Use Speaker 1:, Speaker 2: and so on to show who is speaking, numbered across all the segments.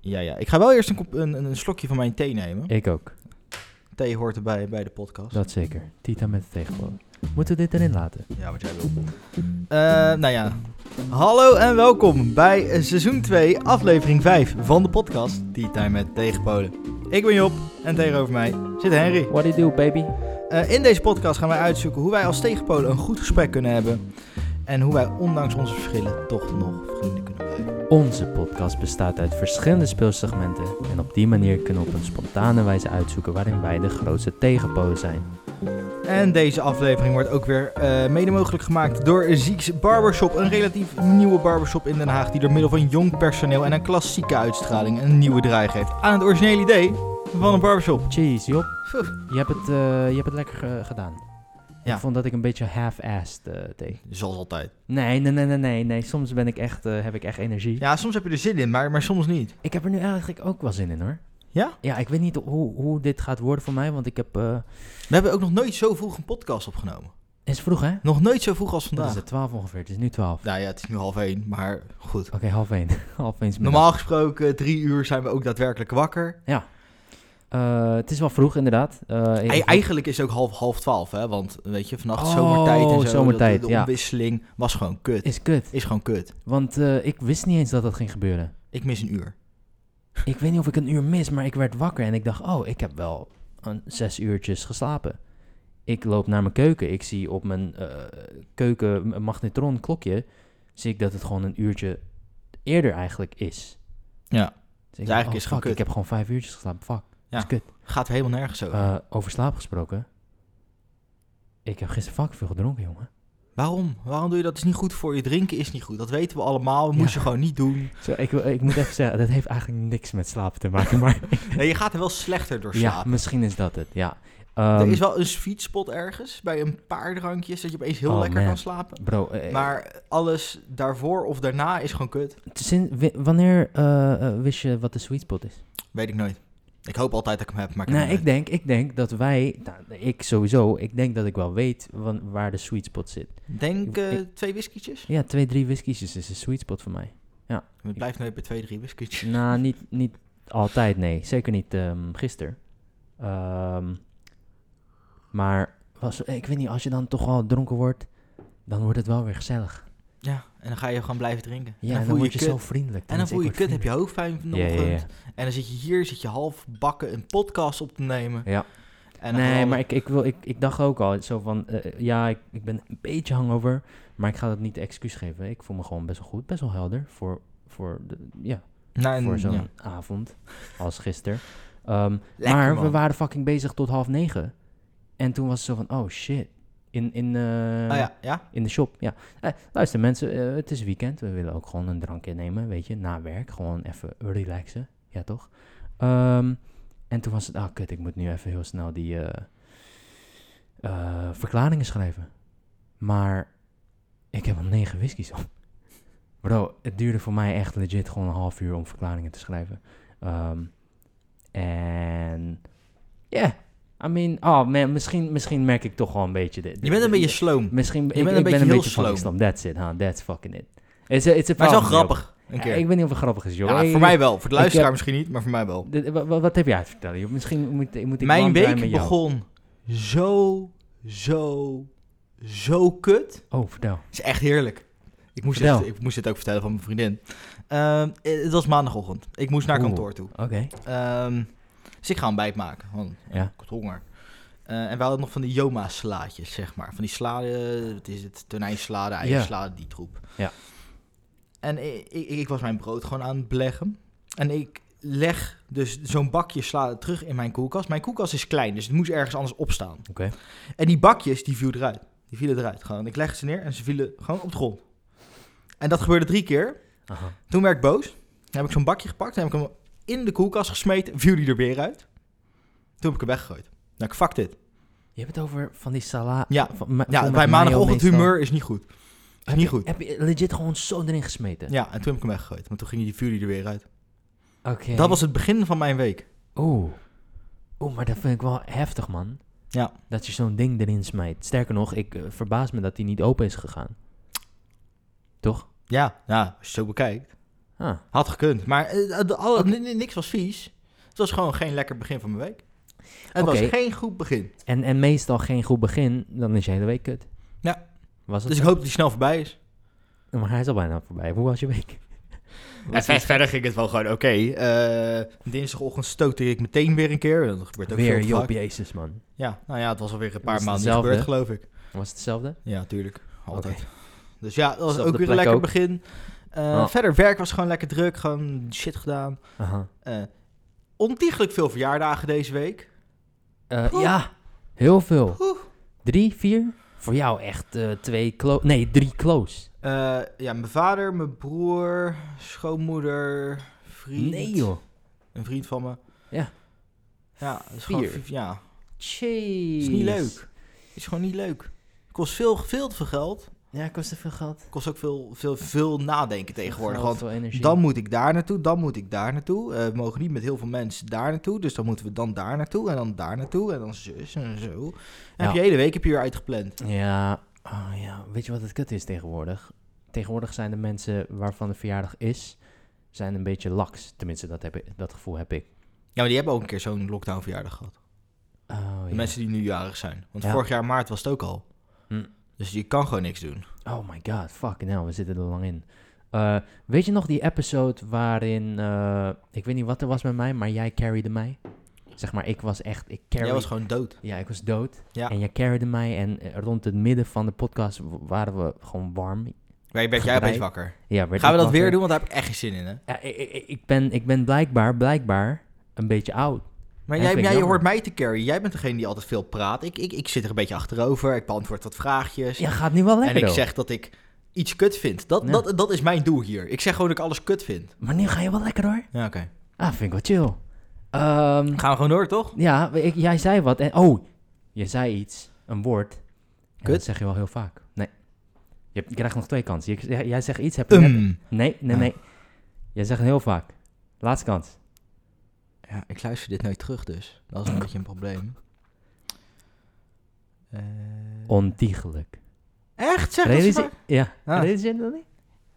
Speaker 1: Ja, ja. Ik ga wel eerst een, kop- een, een slokje van mijn thee nemen.
Speaker 2: Ik ook.
Speaker 1: Thee hoort erbij bij de podcast.
Speaker 2: Dat zeker. Tita met de tegenwoordig. Moeten we dit erin laten?
Speaker 1: Ja, wat jij wil. Eh, nou ja. Hallo en welkom bij eh, seizoen 2, aflevering 5 van de podcast Tea Time met Tegenpolen. Ik ben Job en tegenover mij zit Henry.
Speaker 2: What do you do, baby?
Speaker 1: Eh, in deze podcast gaan wij uitzoeken hoe wij als tegenpolen een goed gesprek kunnen hebben. En hoe wij ondanks onze verschillen toch nog vrienden kunnen blijven.
Speaker 2: Onze podcast bestaat uit verschillende speelsegmenten. En op die manier kunnen we op een spontane wijze uitzoeken waarin wij de grootste tegenpolen zijn.
Speaker 1: En deze aflevering wordt ook weer eh, mede mogelijk gemaakt door Zieks Barbershop. Een relatief nieuwe barbershop in Den Haag die door middel van jong personeel en een klassieke uitstraling een nieuwe draai geeft aan het originele idee van een barbershop.
Speaker 2: Jeez, Job.
Speaker 1: Phew.
Speaker 2: Je hebt het, eh, je hebt het lekker eh, gedaan.
Speaker 1: Ja.
Speaker 2: Ik vond dat ik een beetje half-assed eh, deed.
Speaker 1: Zoals altijd.
Speaker 2: Nee, nee, nee, nee, nee, nee. Soms ben ik echt, eh, heb ik echt energie.
Speaker 1: Ja, soms heb je er zin in, maar, maar soms niet.
Speaker 2: Ik heb er nu eigenlijk ook wel zin in, hoor.
Speaker 1: Ja?
Speaker 2: Ja, ik weet niet hoe, hoe dit gaat worden voor mij, want ik heb... eh,
Speaker 1: We hebben ook nog nooit zo vroeg een podcast opgenomen.
Speaker 2: is vroeg, hè?
Speaker 1: Nog nooit zo vroeg als
Speaker 2: Dat
Speaker 1: vandaag.
Speaker 2: is het, 12 ongeveer. Het is nu 12.
Speaker 1: Nou ja, het is nu half één, maar goed.
Speaker 2: Oké, half één. half één is middag.
Speaker 1: Normaal gesproken, drie uur zijn we ook daadwerkelijk wakker.
Speaker 2: Eh, het is wel vroeg, inderdaad. Eh, ik-
Speaker 1: Ei- Eigenlijk is het ook half, half twaalf, hè? Want weet je, vannacht
Speaker 2: Oh,
Speaker 1: zomertijd en zo.
Speaker 2: zomertijd,
Speaker 1: de, de
Speaker 2: ja.
Speaker 1: omwisseling was gewoon kut.
Speaker 2: is kut.
Speaker 1: Is gewoon kut.
Speaker 2: Want eh, ik wist niet eens dat dat ging gebeuren.
Speaker 1: Ik mis een uur.
Speaker 2: Ik weet niet of ik een uur mis, maar ik werd wakker en ik dacht... Oh, ik heb wel een zes uurtjes geslapen. Ik loop naar mijn keuken. Ik zie op mijn eh, keuken m- magnetron klokje... zie ik dat het gewoon een uurtje eerder eigenlijk is.
Speaker 1: Ja.
Speaker 2: Dus ik
Speaker 1: eigenlijk
Speaker 2: dacht,
Speaker 1: is het
Speaker 2: fuck,
Speaker 1: gewoon kut.
Speaker 2: ik heb gewoon vijf uurtjes geslapen. Fuck,
Speaker 1: Ja.
Speaker 2: dat is kut.
Speaker 1: Gaat er helemaal nergens over.
Speaker 2: Eh, over slaap gesproken. Ik heb gisteren fucking veel gedronken, jongen.
Speaker 1: Waarom? Waarom doe je dat? Het is niet goed voor je. Drinken is niet goed. Dat weten we allemaal. Dat
Speaker 2: Ja.
Speaker 1: moest je gewoon niet doen.
Speaker 2: Zo, ik, wil- ik moet even zeggen, dat heeft eigenlijk niks met slapen te maken, maar...
Speaker 1: Nee, je gaat er wel slechter door
Speaker 2: ja,
Speaker 1: slapen.
Speaker 2: misschien is dat het, ja.
Speaker 1: er
Speaker 2: Ehm,
Speaker 1: is wel een sweet spot ergens bij een paar drankjes dat je opeens heel
Speaker 2: Oh,
Speaker 1: lekker
Speaker 2: man.
Speaker 1: kan slapen.
Speaker 2: Bro, eh,
Speaker 1: Maar alles daarvoor of daarna is gewoon kut.
Speaker 2: sin- wi- wanneer eh, eh, wist je wat de sweet spot is?
Speaker 1: Weet ik nooit. Ik hoop altijd dat ik hem heb, maar ik heb
Speaker 2: Nou,
Speaker 1: hem
Speaker 2: ik denk, ik denk dat wij... Nou, ik sowieso, ik denk dat ik wel weet wan- waar de sweet spot zit.
Speaker 1: nooit. Denk eh,
Speaker 2: ik-
Speaker 1: twee whiskietjes?
Speaker 2: Ja, twee, drie whiskies is de sweet spot voor mij.
Speaker 1: Het blijft nooit bij twee, drie whiskietjes.
Speaker 2: nou, niet, niet altijd, nee. Zeker niet ehm gisteren. Ehm, maar was, ik weet niet, als je dan toch al dronken wordt, dan wordt het wel weer gezellig.
Speaker 1: Ja, en dan ga je gewoon blijven drinken.
Speaker 2: Ja, en dan,
Speaker 1: voel
Speaker 2: word je,
Speaker 1: kut.
Speaker 2: zo vriendelijk.
Speaker 1: En dan voel je kut, heb je
Speaker 2: ook.
Speaker 1: hoofdpijn van de
Speaker 2: Ja, ja,
Speaker 1: ochtend.
Speaker 2: ja.
Speaker 1: En dan zit je hier, zit je half bakken een podcast op te nemen.
Speaker 2: Ja.
Speaker 1: En dan
Speaker 2: Nee,
Speaker 1: gewoon-
Speaker 2: maar ik, ik, wil, ik, ik dacht ook al zo van, eh, ja, ik, ik ben een beetje hangover, maar ik ga dat niet de excuus geven. Ik voel me gewoon best wel goed, best wel helder voor, voor, de, ja,
Speaker 1: Nou, en-
Speaker 2: voor zo'n
Speaker 1: ja.
Speaker 2: avond als gisteren. Ehm,
Speaker 1: Lekker,
Speaker 2: maar we
Speaker 1: man.
Speaker 2: waren fucking bezig tot half negen. En toen was het zo van, oh shit, in, in, eh,
Speaker 1: Ah ja, ja.
Speaker 2: in de shop, ja. Eh, luister mensen, eh, het is weekend, we willen ook gewoon een drankje nemen, weet je, na werk. Gewoon even relaxen, ja toch? Ehm, en toen was het, ah kut, ik moet nu even heel snel die eh, eh, verklaringen schrijven. Maar ik heb al negen whiskies op. Bro, het duurde voor mij echt legit gewoon een half uur om verklaringen te schrijven. Ehm, En ja, I mean, oh man, misschien, misschien merk ik toch wel een beetje dit.
Speaker 1: Je bent een beetje sloom.
Speaker 2: Misschien, ik,
Speaker 1: bent een
Speaker 2: ik
Speaker 1: beetje
Speaker 2: ben een
Speaker 1: heel
Speaker 2: beetje
Speaker 1: slow.
Speaker 2: van Islam. That's it, huh? That's fucking it. It's a, it's a
Speaker 1: Maar het is
Speaker 2: problem,
Speaker 1: wel grappig. Een
Speaker 2: Job.
Speaker 1: keer.
Speaker 2: Ik weet niet of het grappig is, joh.
Speaker 1: ja,
Speaker 2: Hey,
Speaker 1: voor mij wel. Voor de
Speaker 2: ik
Speaker 1: luisteraar
Speaker 2: heb-
Speaker 1: misschien niet, maar voor mij wel.
Speaker 2: dit- wa- wa- wat, heb jij uit te vertellen, joh? Misschien moet, moet ik
Speaker 1: Mijn
Speaker 2: one-time met
Speaker 1: week
Speaker 2: jou.
Speaker 1: begon zo, zo, zo kut.
Speaker 2: Oh, vertel.
Speaker 1: Het is echt heerlijk. Ik moest,
Speaker 2: Vertel.
Speaker 1: dit, ik moest dit ook vertellen van mijn vriendin. Ehm, eh, het was maandagochtend. Ik moest naar
Speaker 2: Oeh.
Speaker 1: kantoor toe.
Speaker 2: Oké.
Speaker 1: Ehm, dus ik ga een bijt maken, want
Speaker 2: Ja.
Speaker 1: ik had honger. Eh, en we hadden nog van die Joma slaatjes, zeg maar. Van die slade, wat is het? Tonijnslade, eierslade, die troep.
Speaker 2: Ja.
Speaker 1: En ik, ik, ik was mijn brood gewoon aan het beleggen. En ik leg dus zo'n bakje sla terug in mijn koelkast. Mijn koelkast is klein, dus het moest ergens anders opstaan.
Speaker 2: Oké.
Speaker 1: En die bakjes, die viel eruit. Die vielen eruit gewoon. Ik legde ze neer en ze vielen gewoon op de grond. En dat gebeurde drie keer.
Speaker 2: Aha.
Speaker 1: Toen werd ik boos. Toen heb ik zo'n bakje gepakt. Toen heb ik hem in de koelkast gesmeten. Viel die er weer uit. Toen heb ik hem weggegooid. Nou, ik fuck dit.
Speaker 2: Je hebt het over van die salade.
Speaker 1: Ja. Ja, bij maandagochtend humeur is niet goed. Is niet goed.
Speaker 2: Heb je legit gewoon zo erin gesmeten?
Speaker 1: Ja, en toen heb ik hem weggegooid. Want toen ging die vuur er weer uit.
Speaker 2: Oké.
Speaker 1: Dat was het begin van mijn week.
Speaker 2: Oeh. Oeh, maar dat vind ik wel heftig, man.
Speaker 1: Ja.
Speaker 2: Dat je zo'n ding erin smijt. Sterker nog, ik eh, verbaas me dat die niet open is gegaan. Toch?
Speaker 1: Ja, ja als je het zo bekijkt.
Speaker 2: Ah,
Speaker 1: Had gekund. Maar eh, de alle, n- n- niks was vies. Het was gewoon geen lekker begin van mijn week. Het
Speaker 2: Oké.
Speaker 1: was geen goed begin.
Speaker 2: En, en meestal geen goed begin, dan is je hele week kut.
Speaker 1: Ja.
Speaker 2: Was het
Speaker 1: Dus ik
Speaker 2: zo?
Speaker 1: hoop dat die snel voorbij is.
Speaker 2: Maar hij is al bijna voorbij. Hoe was je week?
Speaker 1: En ver- verder ging het wel gewoon oké. Eh, dinsdagochtend stootte ik meteen weer een keer. Dat gebeurt ook veel
Speaker 2: Weer
Speaker 1: te
Speaker 2: Job
Speaker 1: vaak.
Speaker 2: Jezus, man.
Speaker 1: Ja, nou ja, het was alweer een
Speaker 2: Was
Speaker 1: paar
Speaker 2: het
Speaker 1: maanden niet
Speaker 2: hetzelfde?
Speaker 1: gebeurd, geloof ik.
Speaker 2: Was het hetzelfde?
Speaker 1: Ja, tuurlijk. Altijd. Dus ja, dat was
Speaker 2: Zelfde
Speaker 1: ook weer een
Speaker 2: plek
Speaker 1: lekker
Speaker 2: ook.
Speaker 1: begin. Eh,
Speaker 2: Oh.
Speaker 1: Verder, werk was gewoon lekker druk. Gewoon shit gedaan.
Speaker 2: Aha.
Speaker 1: Eh, ontiegelijk veel verjaardagen deze week.
Speaker 2: Eh,
Speaker 1: Poeh.
Speaker 2: ja, heel veel.
Speaker 1: Poeh.
Speaker 2: Drie, vier? Voor jou echt eh, twee close. Nee, drie close.
Speaker 1: Eh, ja, mijn vader, mijn broer, schoonmoeder, vriend.
Speaker 2: Nee, joh.
Speaker 1: Een vriend van me.
Speaker 2: Ja.
Speaker 1: Ja, het is gewoon
Speaker 2: Vier.
Speaker 1: vier- ja.
Speaker 2: Jeez.
Speaker 1: is niet leuk. is gewoon niet leuk. kost veel, veel te veel geld.
Speaker 2: Ja, kost te veel geld.
Speaker 1: kost ook veel, veel, veel nadenken tegenwoordig.
Speaker 2: Geld,
Speaker 1: Want
Speaker 2: veel energie.
Speaker 1: Dan moet ik daar naartoe, dan moet ik daar naartoe. Eh, we mogen niet met heel veel mensen daar naartoe. Dus dan moeten we dan daar naartoe en dan daar naartoe en dan zus en zo. En
Speaker 2: Ja.
Speaker 1: heb je hele week heb je weer uitgepland.
Speaker 2: Ja, oh ja, weet je wat het kut is tegenwoordig? Tegenwoordig zijn de mensen waarvan de verjaardag is, zijn een beetje laks. Tenminste, dat, heb ik, dat gevoel heb ik.
Speaker 1: Ja, maar die hebben ook een keer zo'n lockdown verjaardag gehad.
Speaker 2: Oh,
Speaker 1: De
Speaker 2: ja.
Speaker 1: mensen die nu jarig zijn. Want
Speaker 2: Ja.
Speaker 1: vorig jaar maart was het ook al.
Speaker 2: Hm.
Speaker 1: Dus je kan gewoon niks doen.
Speaker 2: oh my god, fucking hell, we zitten er lang in. Eh, weet je nog die episode waarin, eh, ik weet niet wat er was met mij, maar jij carryde mij? Zeg maar, ik was echt, ik carry...
Speaker 1: Jij was gewoon dood.
Speaker 2: Ja, ik was dood.
Speaker 1: Ja.
Speaker 2: En jij carryde mij en eh, rond het midden van de podcast w- waren we gewoon warm.
Speaker 1: Maar je werd jij
Speaker 2: Gedraaid.
Speaker 1: opeens wakker.
Speaker 2: Ja, werd
Speaker 1: Gaan we
Speaker 2: ik
Speaker 1: dat weer
Speaker 2: wakker.
Speaker 1: doen? Want daar heb ik echt geen zin in, hè?
Speaker 2: Ja, ik, ik- ik, ben, ik ben blijkbaar, blijkbaar een beetje oud.
Speaker 1: Maar
Speaker 2: Ja,
Speaker 1: jij,
Speaker 2: ik vind het
Speaker 1: jij
Speaker 2: jammer.
Speaker 1: hoort mij te carry. Jij bent degene die altijd veel praat. Ik, ik, ik zit er een beetje achterover. Ik beantwoord wat vraagjes.
Speaker 2: Ja, gaat nu wel lekker
Speaker 1: en ik
Speaker 2: though.
Speaker 1: zeg dat ik iets kut vind. Dat,
Speaker 2: Ja.
Speaker 1: dat, dat is mijn doel hier. Ik zeg gewoon dat ik alles kut vind.
Speaker 2: Maar nu ga je wel lekker hoor.
Speaker 1: Ja, oké.
Speaker 2: Ah, vind ik wel chill. Ehm,
Speaker 1: Gaan we gewoon door, toch?
Speaker 2: ja, we- ik, jij zei wat. En, oh, je zei iets. Een woord. En
Speaker 1: Kut.
Speaker 2: dat zeg je wel heel vaak. Nee. Je, hebt- je krijgt nog twee kansen. Je- jij- jij zegt iets, heb je net-
Speaker 1: Um.
Speaker 2: Nee, nee,
Speaker 1: Ah.
Speaker 2: nee. Jij zegt heel vaak. Laatste kans.
Speaker 1: Ja, ik luister dit nooit terug, dus. Dat is een beetje een probleem. Eh,
Speaker 2: Ontiegelijk.
Speaker 1: Echt? Zeg dat ze
Speaker 2: Realiseer
Speaker 1: maar.
Speaker 2: ja.
Speaker 1: Ah.
Speaker 2: Realiseer je dat niet?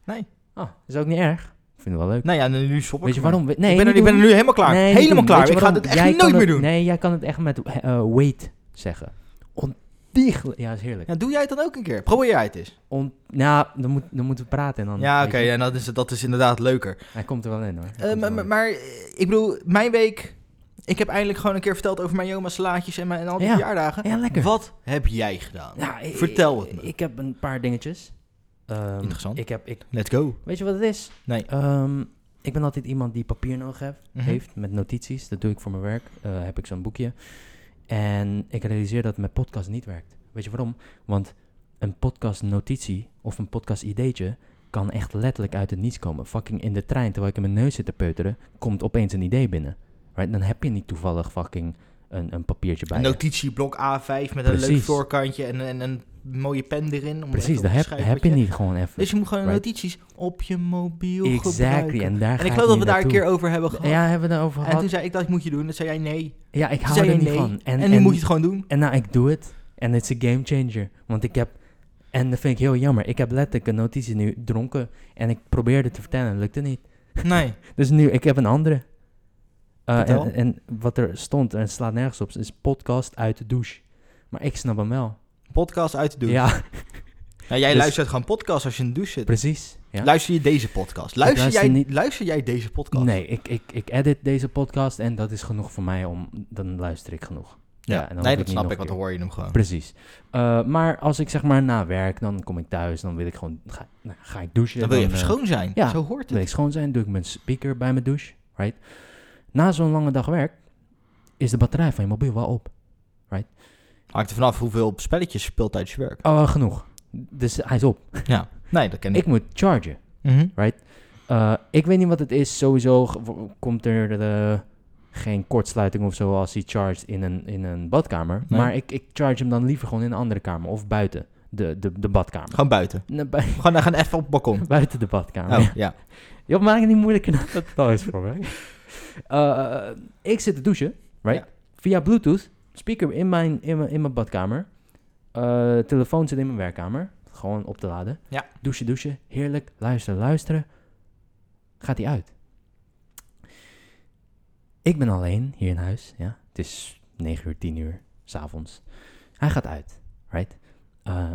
Speaker 1: Nee.
Speaker 2: Oh, is ook niet erg. Ik vind het wel leuk.
Speaker 1: Nou ja, nu stop ik
Speaker 2: Weet je
Speaker 1: ermee.
Speaker 2: waarom? we- Nee,
Speaker 1: ik, ben er,
Speaker 2: niet
Speaker 1: ik ben
Speaker 2: doen.
Speaker 1: er nu helemaal klaar.
Speaker 2: Nee, niet
Speaker 1: helemaal
Speaker 2: doen.
Speaker 1: klaar.
Speaker 2: Weet je
Speaker 1: Ik ga
Speaker 2: waarom?
Speaker 1: dit
Speaker 2: Jij
Speaker 1: echt
Speaker 2: kan
Speaker 1: nooit meer
Speaker 2: het-
Speaker 1: doen.
Speaker 2: Nee, jij kan het echt met eh, weight zeggen. Ontiegelijk. Ja, is heerlijk.
Speaker 1: Ja, doe jij het dan ook een keer? Probeer jij het eens.
Speaker 2: On, nou, dan, moet, dan moeten we praten en dan...
Speaker 1: Ja,
Speaker 2: weet
Speaker 1: oké.
Speaker 2: je.
Speaker 1: en dat, is, dat is inderdaad leuker.
Speaker 2: Hij komt er wel in, hoor. Hij
Speaker 1: Eh,
Speaker 2: komt er
Speaker 1: maar,
Speaker 2: wel
Speaker 1: maar,
Speaker 2: in.
Speaker 1: maar, eh, ik bedoel, mijn week... Ik heb eindelijk gewoon een keer verteld over mijn Joma's salaatjes en, mijn, en al die
Speaker 2: Ja.
Speaker 1: verjaardagen.
Speaker 2: Ja, lekker.
Speaker 1: Wat heb jij gedaan?
Speaker 2: Ja, ik-
Speaker 1: Vertel
Speaker 2: ik-
Speaker 1: het me.
Speaker 2: Ik heb een paar dingetjes. Ehm,
Speaker 1: Interessant.
Speaker 2: Ik heb, ik,
Speaker 1: Let's go.
Speaker 2: weet je wat het is?
Speaker 1: Nee.
Speaker 2: Ehm, ik ben altijd iemand die papier nodig heeft,
Speaker 1: Mhm.
Speaker 2: heeft met notities. Dat doe ik voor mijn werk. Eh, heb ik zo'n boekje. En ik realiseer dat mijn podcast niet werkt. Weet je waarom? Want een podcast notitie of een podcast ideetje kan echt letterlijk uit het niets komen. Fucking in de trein, terwijl ik in mijn neus zit te peuteren, komt opeens een idee binnen. Right? Dan heb je niet toevallig fucking een, een papiertje bij
Speaker 1: Een
Speaker 2: je.
Speaker 1: notitieblok A5 met een leuk
Speaker 2: Precies.
Speaker 1: voorkantje en, en een mooie pen erin. Om
Speaker 2: Precies,
Speaker 1: even
Speaker 2: dat
Speaker 1: op te
Speaker 2: heb,
Speaker 1: schrijven
Speaker 2: heb
Speaker 1: wat
Speaker 2: je niet gewoon even.
Speaker 1: Dus je moet gewoon
Speaker 2: Right.
Speaker 1: notities op je mobiel
Speaker 2: exactly,
Speaker 1: gebruiken.
Speaker 2: en daar
Speaker 1: En
Speaker 2: ga
Speaker 1: ik geloof dat
Speaker 2: nu
Speaker 1: we daar een
Speaker 2: naartoe.
Speaker 1: keer over hebben gehad.
Speaker 2: Ja, hebben we het over
Speaker 1: en
Speaker 2: gehad.
Speaker 1: toen zei ik dat moet je doen. Dat zei jij nee.
Speaker 2: ja, ik
Speaker 1: Toen
Speaker 2: hou
Speaker 1: zei
Speaker 2: er
Speaker 1: jij
Speaker 2: niet
Speaker 1: nee.
Speaker 2: van.
Speaker 1: En, nu moet je het gewoon doen.
Speaker 2: En nou, ik doe het. En het is een game changer. Want ik heb. En dat vind ik heel jammer. Ik heb letterlijk een notitie nu dronken. En ik probeerde te vertellen. Het lukte niet.
Speaker 1: Nee.
Speaker 2: Dus nu, ik heb een andere. Eh,
Speaker 1: Vertel.
Speaker 2: en, en wat er stond, en het slaat nergens op, is podcast uit de douche. Maar ik snap hem wel.
Speaker 1: Podcast uit te doen.
Speaker 2: Ja,
Speaker 1: Nou, jij
Speaker 2: Dus-
Speaker 1: luistert gewoon podcast als je in de douche zit.
Speaker 2: precies. Ja.
Speaker 1: Luister je deze podcast? Luister,
Speaker 2: luister
Speaker 1: jij,
Speaker 2: niet-
Speaker 1: luister jij deze podcast?
Speaker 2: Nee, ik, ik, ik edit deze podcast en dat is genoeg voor mij om. Dan luister ik genoeg.
Speaker 1: Ja,
Speaker 2: en dan hoef
Speaker 1: nee,
Speaker 2: ik
Speaker 1: dat
Speaker 2: niet
Speaker 1: snap
Speaker 2: nog
Speaker 1: ik, want
Speaker 2: een
Speaker 1: dan hoor je hem gewoon.
Speaker 2: Precies. Eh, maar als ik zeg maar na werk, dan kom ik thuis, dan wil ik gewoon, ga, nou, ga ik douchen.
Speaker 1: Dan wil je
Speaker 2: eh,
Speaker 1: even schoon zijn.
Speaker 2: ja.
Speaker 1: Zo hoort
Speaker 2: wil
Speaker 1: het.
Speaker 2: ik schoon zijn, doe ik mijn speaker bij mijn douche, right? Na zo'n lange dag werk is de batterij van je mobiel wel op.
Speaker 1: Hangt er vanaf hoeveel spelletjes je speelt tijdens je werk.
Speaker 2: Oh, eh, genoeg. Dus hij is op.
Speaker 1: Ja, nee, dat ken ik.
Speaker 2: Ik moet chargen.
Speaker 1: Mhm.
Speaker 2: Eh, ik weet niet wat het is. Sowieso g- w- komt er eh, geen kortsluiting of zo als hij charged in een, in een badkamer.
Speaker 1: Nee.
Speaker 2: Maar ik, ik charge hem dan liever gewoon in een andere kamer of buiten de, de, de badkamer.
Speaker 1: Gewoon buiten.
Speaker 2: Nee, bui-
Speaker 1: We gaan, gaan even op het balkon.
Speaker 2: buiten de badkamer.
Speaker 1: Oh, ja.
Speaker 2: Je maakt het niet moeilijker dan dat het al is voor mij. Eh, ik zit te douchen, right?
Speaker 1: Ja.
Speaker 2: Via Bluetooth, speaker in mijn, in mijn, in mijn badkamer. Eh, telefoon zit in mijn werkkamer, gewoon op te laden.
Speaker 1: Ja.
Speaker 2: Douchen, douchen, heerlijk, luisteren, luisteren. gaat hij uit. Ik ben alleen hier in huis. Ja? Het is 9 uur, 10 uur s'avonds. Hij gaat uit, right? Eh,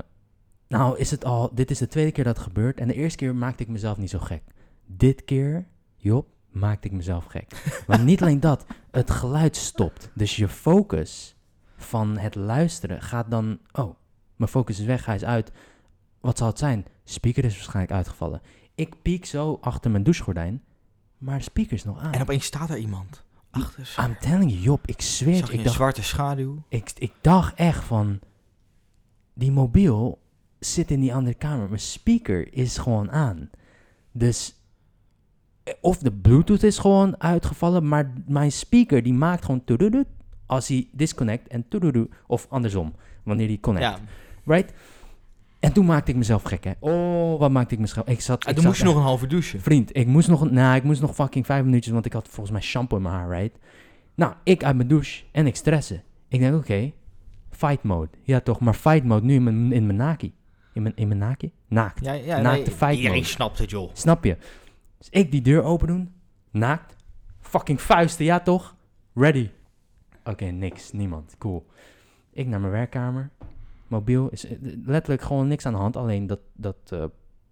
Speaker 2: nou, is het al, dit is de tweede keer dat het gebeurt. En de eerste keer maakte ik mezelf niet zo gek. Dit keer, Job, maakte ik mezelf gek. maar niet alleen dat, het geluid stopt. Dus je focus van het luisteren gaat dan... Oh, mijn focus is weg, hij is uit. Wat zal het zijn? Speaker is waarschijnlijk uitgevallen. Ik piek zo achter mijn douchegordijn, maar de speaker is nog aan.
Speaker 1: En opeens staat er iemand. Achter ze.
Speaker 2: I'm telling you, Job, ik zweer het
Speaker 1: Zag
Speaker 2: je,
Speaker 1: je
Speaker 2: ik
Speaker 1: een
Speaker 2: dacht,
Speaker 1: zwarte schaduw?
Speaker 2: ik, ik dacht echt van, die mobiel zit in die andere kamer. Mijn speaker is gewoon aan. Dus, eh, of de bluetooth is gewoon uitgevallen, maar mijn speaker die maakt gewoon toedoedoet als hij disconnect en toedoedoe, of andersom, wanneer die connect.
Speaker 1: Ja.
Speaker 2: Right? En toen maakte ik mezelf gek, hè. Oh, wat maakte ik mezelf... Ik zat,
Speaker 1: En
Speaker 2: ik
Speaker 1: Ah, toen
Speaker 2: zat
Speaker 1: moest je
Speaker 2: echt-
Speaker 1: nog een halve douchen.
Speaker 2: Vriend, ik moest nog, nou, ik moest nog fucking vijf minuutjes, want ik had volgens mij shampoo in mijn haar, right? Nou, ik uit mijn douche en ik stressen. Ik denk, oké, fight mode. Ja toch, maar fight mode nu in mijn, in mijn naki. In mijn, in mijn naki? Naakt.
Speaker 1: Ja, ja,
Speaker 2: Naakte feit
Speaker 1: iedereen
Speaker 2: mode.
Speaker 1: snapt het, joh.
Speaker 2: Snap je? Dus ik die deur open doen, naakt, fucking vuisten, ja toch? Ready. Oké, niks, niemand, cool. Ik naar mijn werkkamer, mobiel, is eh, letterlijk gewoon niks aan de hand, alleen dat, dat eh,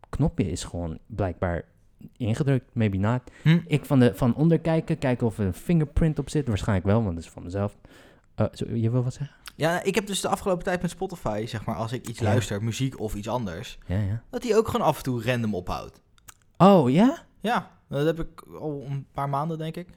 Speaker 2: knopje is gewoon blijkbaar ingedrukt, maybe not.
Speaker 1: Hm?
Speaker 2: Ik van, de, van onder kijken, kijken of er een fingerprint op zit, waarschijnlijk wel, want dat is van mezelf. Eh, zo- je wil wat zeggen?
Speaker 1: Ja, ik heb dus de afgelopen tijd met Spotify, zeg maar, als ik iets
Speaker 2: Ja.
Speaker 1: luister, muziek of iets anders,
Speaker 2: Ja, ja.
Speaker 1: dat die ook gewoon af en toe random ophoudt.
Speaker 2: Oh, ja?
Speaker 1: Ja, dat heb ik al een paar maanden, denk ik.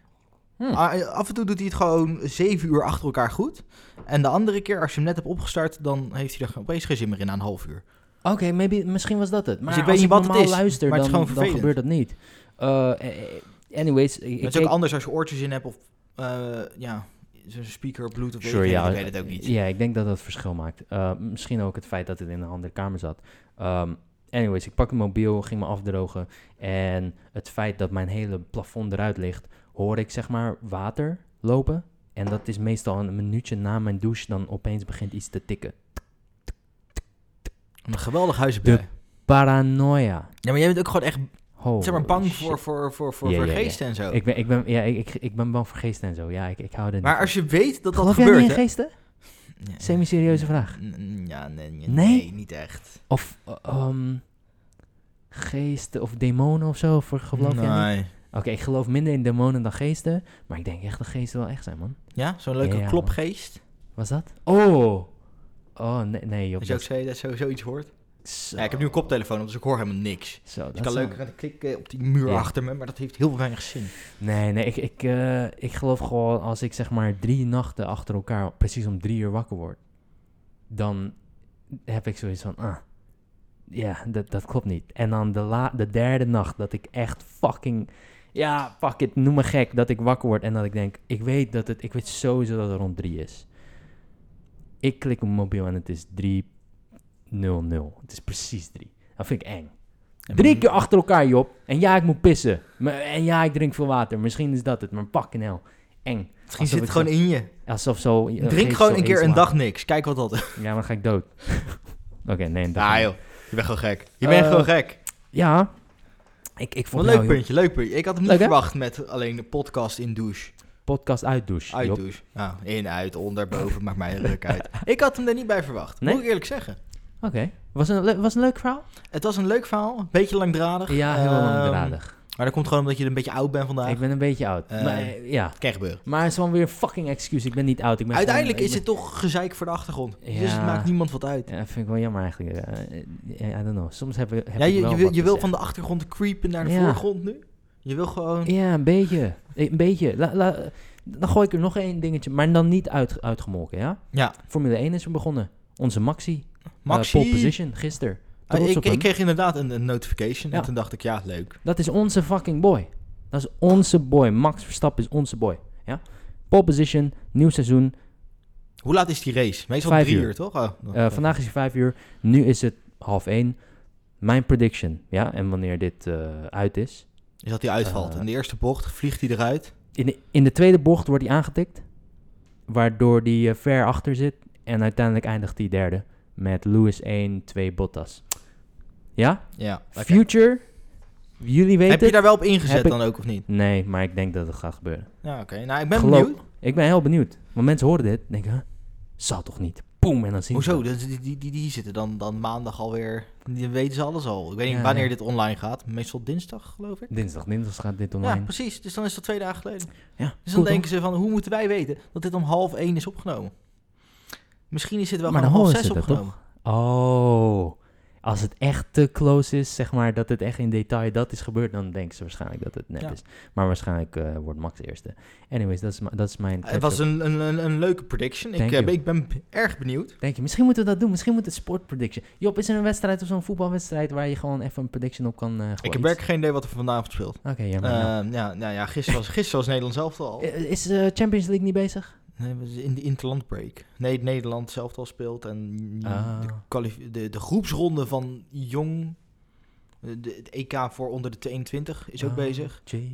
Speaker 2: Hm.
Speaker 1: Ah, Af en toe doet hij het gewoon zeven uur achter elkaar goed. En de andere keer, als je hem net hebt opgestart, dan heeft hij er opeens geen zin meer in na een half uur.
Speaker 2: Oké, maybe, misschien was dat het. Maar
Speaker 1: Dus ik weet
Speaker 2: als
Speaker 1: niet
Speaker 2: ik
Speaker 1: wat het
Speaker 2: normaal
Speaker 1: is,
Speaker 2: luister,
Speaker 1: maar het is
Speaker 2: dan,
Speaker 1: gewoon
Speaker 2: dan
Speaker 1: vervelend.
Speaker 2: gebeurt dat niet. Eh, eh, eh, anyways, ik, ik
Speaker 1: Het is
Speaker 2: keek-
Speaker 1: ook anders als je oortjes in hebt of, eh, ja, zo'n speaker, bluetooth,
Speaker 2: Sure,
Speaker 1: weet ik,
Speaker 2: ja,
Speaker 1: ik weet het ook niet.
Speaker 2: Ja, ik denk dat dat verschil maakt. Eh, misschien ook het feit dat het in een andere kamer zat. Ehm, anyways, ik pak een mobiel, ging me afdrogen. En het feit dat mijn hele plafond eruit ligt, hoor ik zeg maar water lopen. En dat is meestal een minuutje na mijn douche, dan opeens begint iets te tikken.
Speaker 1: Een geweldig huis heb
Speaker 2: De-
Speaker 1: jij.
Speaker 2: Paranoia.
Speaker 1: Ja, maar jij bent ook gewoon echt,
Speaker 2: Holy
Speaker 1: zeg maar, bang
Speaker 2: shit.
Speaker 1: voor, voor, voor, voor,
Speaker 2: Ja,
Speaker 1: voor
Speaker 2: ja, ja.
Speaker 1: geesten en zo.
Speaker 2: Ik ben, ik ben, ja, ik, ik, ik ben bang voor geesten en zo. Ja, ik, ik hou er
Speaker 1: maar
Speaker 2: niet
Speaker 1: als je weet dat
Speaker 2: van. Geloof
Speaker 1: dat
Speaker 2: jij
Speaker 1: gebeurt,
Speaker 2: niet in
Speaker 1: hè?
Speaker 2: geesten?
Speaker 1: Nee.
Speaker 2: Semi-serieuze vraag.
Speaker 1: N- Ja, nee, nee,
Speaker 2: Nee?
Speaker 1: nee, niet echt.
Speaker 2: Of eh, ehm, geesten of demonen of zo, voor geloof jij niet?
Speaker 1: Nee.
Speaker 2: Oké, ik geloof minder in demonen dan geesten, maar ik denk echt dat geesten wel echt zijn, man.
Speaker 1: Ja, zo'n leuke
Speaker 2: Ja,
Speaker 1: klopgeest.
Speaker 2: Was dat? Oh! Oh, nee, nee joh.
Speaker 1: Als je ook
Speaker 2: dat-
Speaker 1: zo, dat zo, zoiets hoort.
Speaker 2: Zo,
Speaker 1: Ja, ik heb nu een koptelefoon op, dus ik hoor helemaal niks. Dus
Speaker 2: zo,
Speaker 1: ik
Speaker 2: dat
Speaker 1: kan
Speaker 2: zou-
Speaker 1: leuk gaan klikken eh, op die muur
Speaker 2: Ja.
Speaker 1: achter me, maar dat heeft heel weinig zin.
Speaker 2: Nee, nee, ik, ik, eh, ik geloof gewoon als ik zeg maar drie nachten achter elkaar precies om drie uur wakker word, dan heb ik zoiets van, ah, ja, dat, dat klopt niet. En dan de, la de derde nacht dat ik echt fucking, ja, fuck it, noem me gek, dat ik wakker word en dat ik denk, ik weet dat het, ik weet sowieso dat het rond drie is. Ik klik op mijn mobiel en het is 300. Het is precies drie. Dat vind ik eng. Drie keer achter elkaar, Job. En ja, ik moet pissen. Maar- En ja, ik drink veel water. Misschien is dat het, maar pak hel. Eng.
Speaker 1: Misschien
Speaker 2: Alsof
Speaker 1: zit het
Speaker 2: ik
Speaker 1: gewoon in je.
Speaker 2: zo- Alsof zo... eh,
Speaker 1: Drink
Speaker 2: geest
Speaker 1: gewoon
Speaker 2: zo
Speaker 1: een keer
Speaker 2: eens
Speaker 1: een
Speaker 2: laat.
Speaker 1: dag niks. Kijk wat dat is.
Speaker 2: Ja, maar dan ga ik dood. Oké, nee, een dag
Speaker 1: Ah
Speaker 2: niet.
Speaker 1: joh, je bent gewoon gek. Je bent
Speaker 2: Eh,
Speaker 1: gewoon gek.
Speaker 2: Ja. Ik, ik nou
Speaker 1: Wat
Speaker 2: vond
Speaker 1: een
Speaker 2: jou,
Speaker 1: leuk
Speaker 2: Job,
Speaker 1: puntje, leuk puntje. Ik had hem niet
Speaker 2: Leuk, hè?
Speaker 1: verwacht met alleen de podcast in douche.
Speaker 2: podcast uitdouche.
Speaker 1: Uit
Speaker 2: Job.
Speaker 1: douche. Nou, in, uit, onder, boven, maakt mij een ruk uit. Ik had hem er niet bij verwacht,
Speaker 2: Nee?
Speaker 1: moet ik eerlijk zeggen.
Speaker 2: Oké. Was, een, le- was een leuk verhaal?
Speaker 1: Het was een leuk verhaal, een beetje langdradig.
Speaker 2: Ja, heel
Speaker 1: Ehm,
Speaker 2: langdradig.
Speaker 1: Maar dat komt gewoon omdat je een beetje oud bent vandaag.
Speaker 2: Ik ben een beetje oud.
Speaker 1: eh,
Speaker 2: maar, eh, ja.
Speaker 1: Kan gebeuren.
Speaker 2: Maar het is gewoon weer een fucking excuus. Ik ben niet oud. Ik ben
Speaker 1: Uiteindelijk
Speaker 2: gewoon-
Speaker 1: is het toch gezeik voor de achtergrond. Dus het
Speaker 2: Ja.
Speaker 1: maakt niemand wat uit.
Speaker 2: Ja, dat vind ik wel jammer eigenlijk. Eh, eh, I don't know. Soms heb, ik- heb
Speaker 1: Ja,
Speaker 2: ik
Speaker 1: je,
Speaker 2: wel
Speaker 1: je, wil,
Speaker 2: wat
Speaker 1: je wil
Speaker 2: te zeggen.
Speaker 1: van de achtergrond creepen naar de
Speaker 2: Ja.
Speaker 1: voorgrond nu. Je wil gewoon...
Speaker 2: Ja, een beetje. Eh, Een beetje. La- la- dan gooi ik er nog één dingetje, maar dan niet uit, uitgemolken, ja?
Speaker 1: Ja,
Speaker 2: Formule 1 is weer begonnen. Onze Maxi.
Speaker 1: Maxi...
Speaker 2: Eh, Nou, pole position, gisteren.
Speaker 1: Ah,
Speaker 2: Trots
Speaker 1: ik,
Speaker 2: op
Speaker 1: ik
Speaker 2: hem.
Speaker 1: kreeg inderdaad een, een notification
Speaker 2: Ja.
Speaker 1: en toen dacht ik, ja, leuk.
Speaker 2: Dat is onze fucking boy. Dat is onze boy. Max Verstappen is onze boy, ja? Pole position, nieuw seizoen.
Speaker 1: Hoe laat is die race? Meestal
Speaker 2: Vijf
Speaker 1: drie uur,
Speaker 2: uur.
Speaker 1: toch? Oh,
Speaker 2: Eh,
Speaker 1: dat-
Speaker 2: vandaag is het vijf uur, nu is het half één. Mijn prediction, ja? En wanneer dit eh, uit is.
Speaker 1: Is dat hij uitvalt.
Speaker 2: eh,
Speaker 1: in de eerste bocht vliegt hij eruit.
Speaker 2: In de, in de tweede bocht wordt hij aangetikt. Waardoor hij eh, ver achter zit. En uiteindelijk eindigt hij derde. Met Lewis 1, 2 Bottas. Ja?
Speaker 1: Ja, oké.
Speaker 2: Future Jullie weten
Speaker 1: Heb je daar wel op ingezet
Speaker 2: Heb ik-
Speaker 1: dan ook of niet?
Speaker 2: het. Nee, maar ik denk dat het gaat gebeuren.
Speaker 1: Ja, oké. Nou, ik ben
Speaker 2: Geloof-
Speaker 1: benieuwd.
Speaker 2: Ik ben heel benieuwd. Want mensen horen dit en denken, huh? zal toch niet? Boom, en dan zien ze
Speaker 1: Hoezo?
Speaker 2: het.
Speaker 1: Dus Die, die, die, die zitten dan, dan maandag alweer. Die weten ze alles al. Ik weet
Speaker 2: Ja,
Speaker 1: niet wanneer
Speaker 2: ja.
Speaker 1: dit online gaat. Meestal dinsdag, geloof ik.
Speaker 2: Dinsdag, dinsdag gaat dit
Speaker 1: Ja,
Speaker 2: online.
Speaker 1: precies. Dus dan is dat twee dagen geleden.
Speaker 2: Ja,
Speaker 1: Dus dan
Speaker 2: cool,
Speaker 1: denken ze van, hoe moeten wij weten dat dit om half één is opgenomen? Misschien is dit wel
Speaker 2: Maar
Speaker 1: gewoon om
Speaker 2: dan
Speaker 1: half
Speaker 2: horen
Speaker 1: zes
Speaker 2: ze dat,
Speaker 1: opgenomen.
Speaker 2: toch? Oh, als het echt te close is, zeg maar, dat het echt in detail dat is gebeurd, dan denken ze waarschijnlijk dat het nep
Speaker 1: Ja.
Speaker 2: is. Maar waarschijnlijk eh, wordt Max eerste. Anyways, dat is, ma- dat is mijn...
Speaker 1: Het was een, een, een, een leuke prediction. Ik,
Speaker 2: Thank
Speaker 1: eh,
Speaker 2: you.
Speaker 1: ik ben b- erg benieuwd.
Speaker 2: Denk je, misschien moeten we dat doen. Misschien moet het sport prediction. Job, is er een wedstrijd of zo'n voetbalwedstrijd waar je gewoon even een prediction op kan eh gooien?
Speaker 1: Ik heb werkelijk geen idee wat er vanavond speelt.
Speaker 2: Oké, jammer.
Speaker 1: Eh,
Speaker 2: nou.
Speaker 1: ja, nou ja, gisteren was, gisteren was Nederland zelf al.
Speaker 2: Eh, Is eh, Champions League niet bezig?
Speaker 1: Nee, we zijn in de interland break. Nee, het Nederland zelf al speelt. En
Speaker 2: Ah.
Speaker 1: de, kwalif- de, de groepsronde van Jong, eh, de, het EK voor onder de 22, is ook
Speaker 2: Ah,
Speaker 1: bezig.
Speaker 2: Jeez.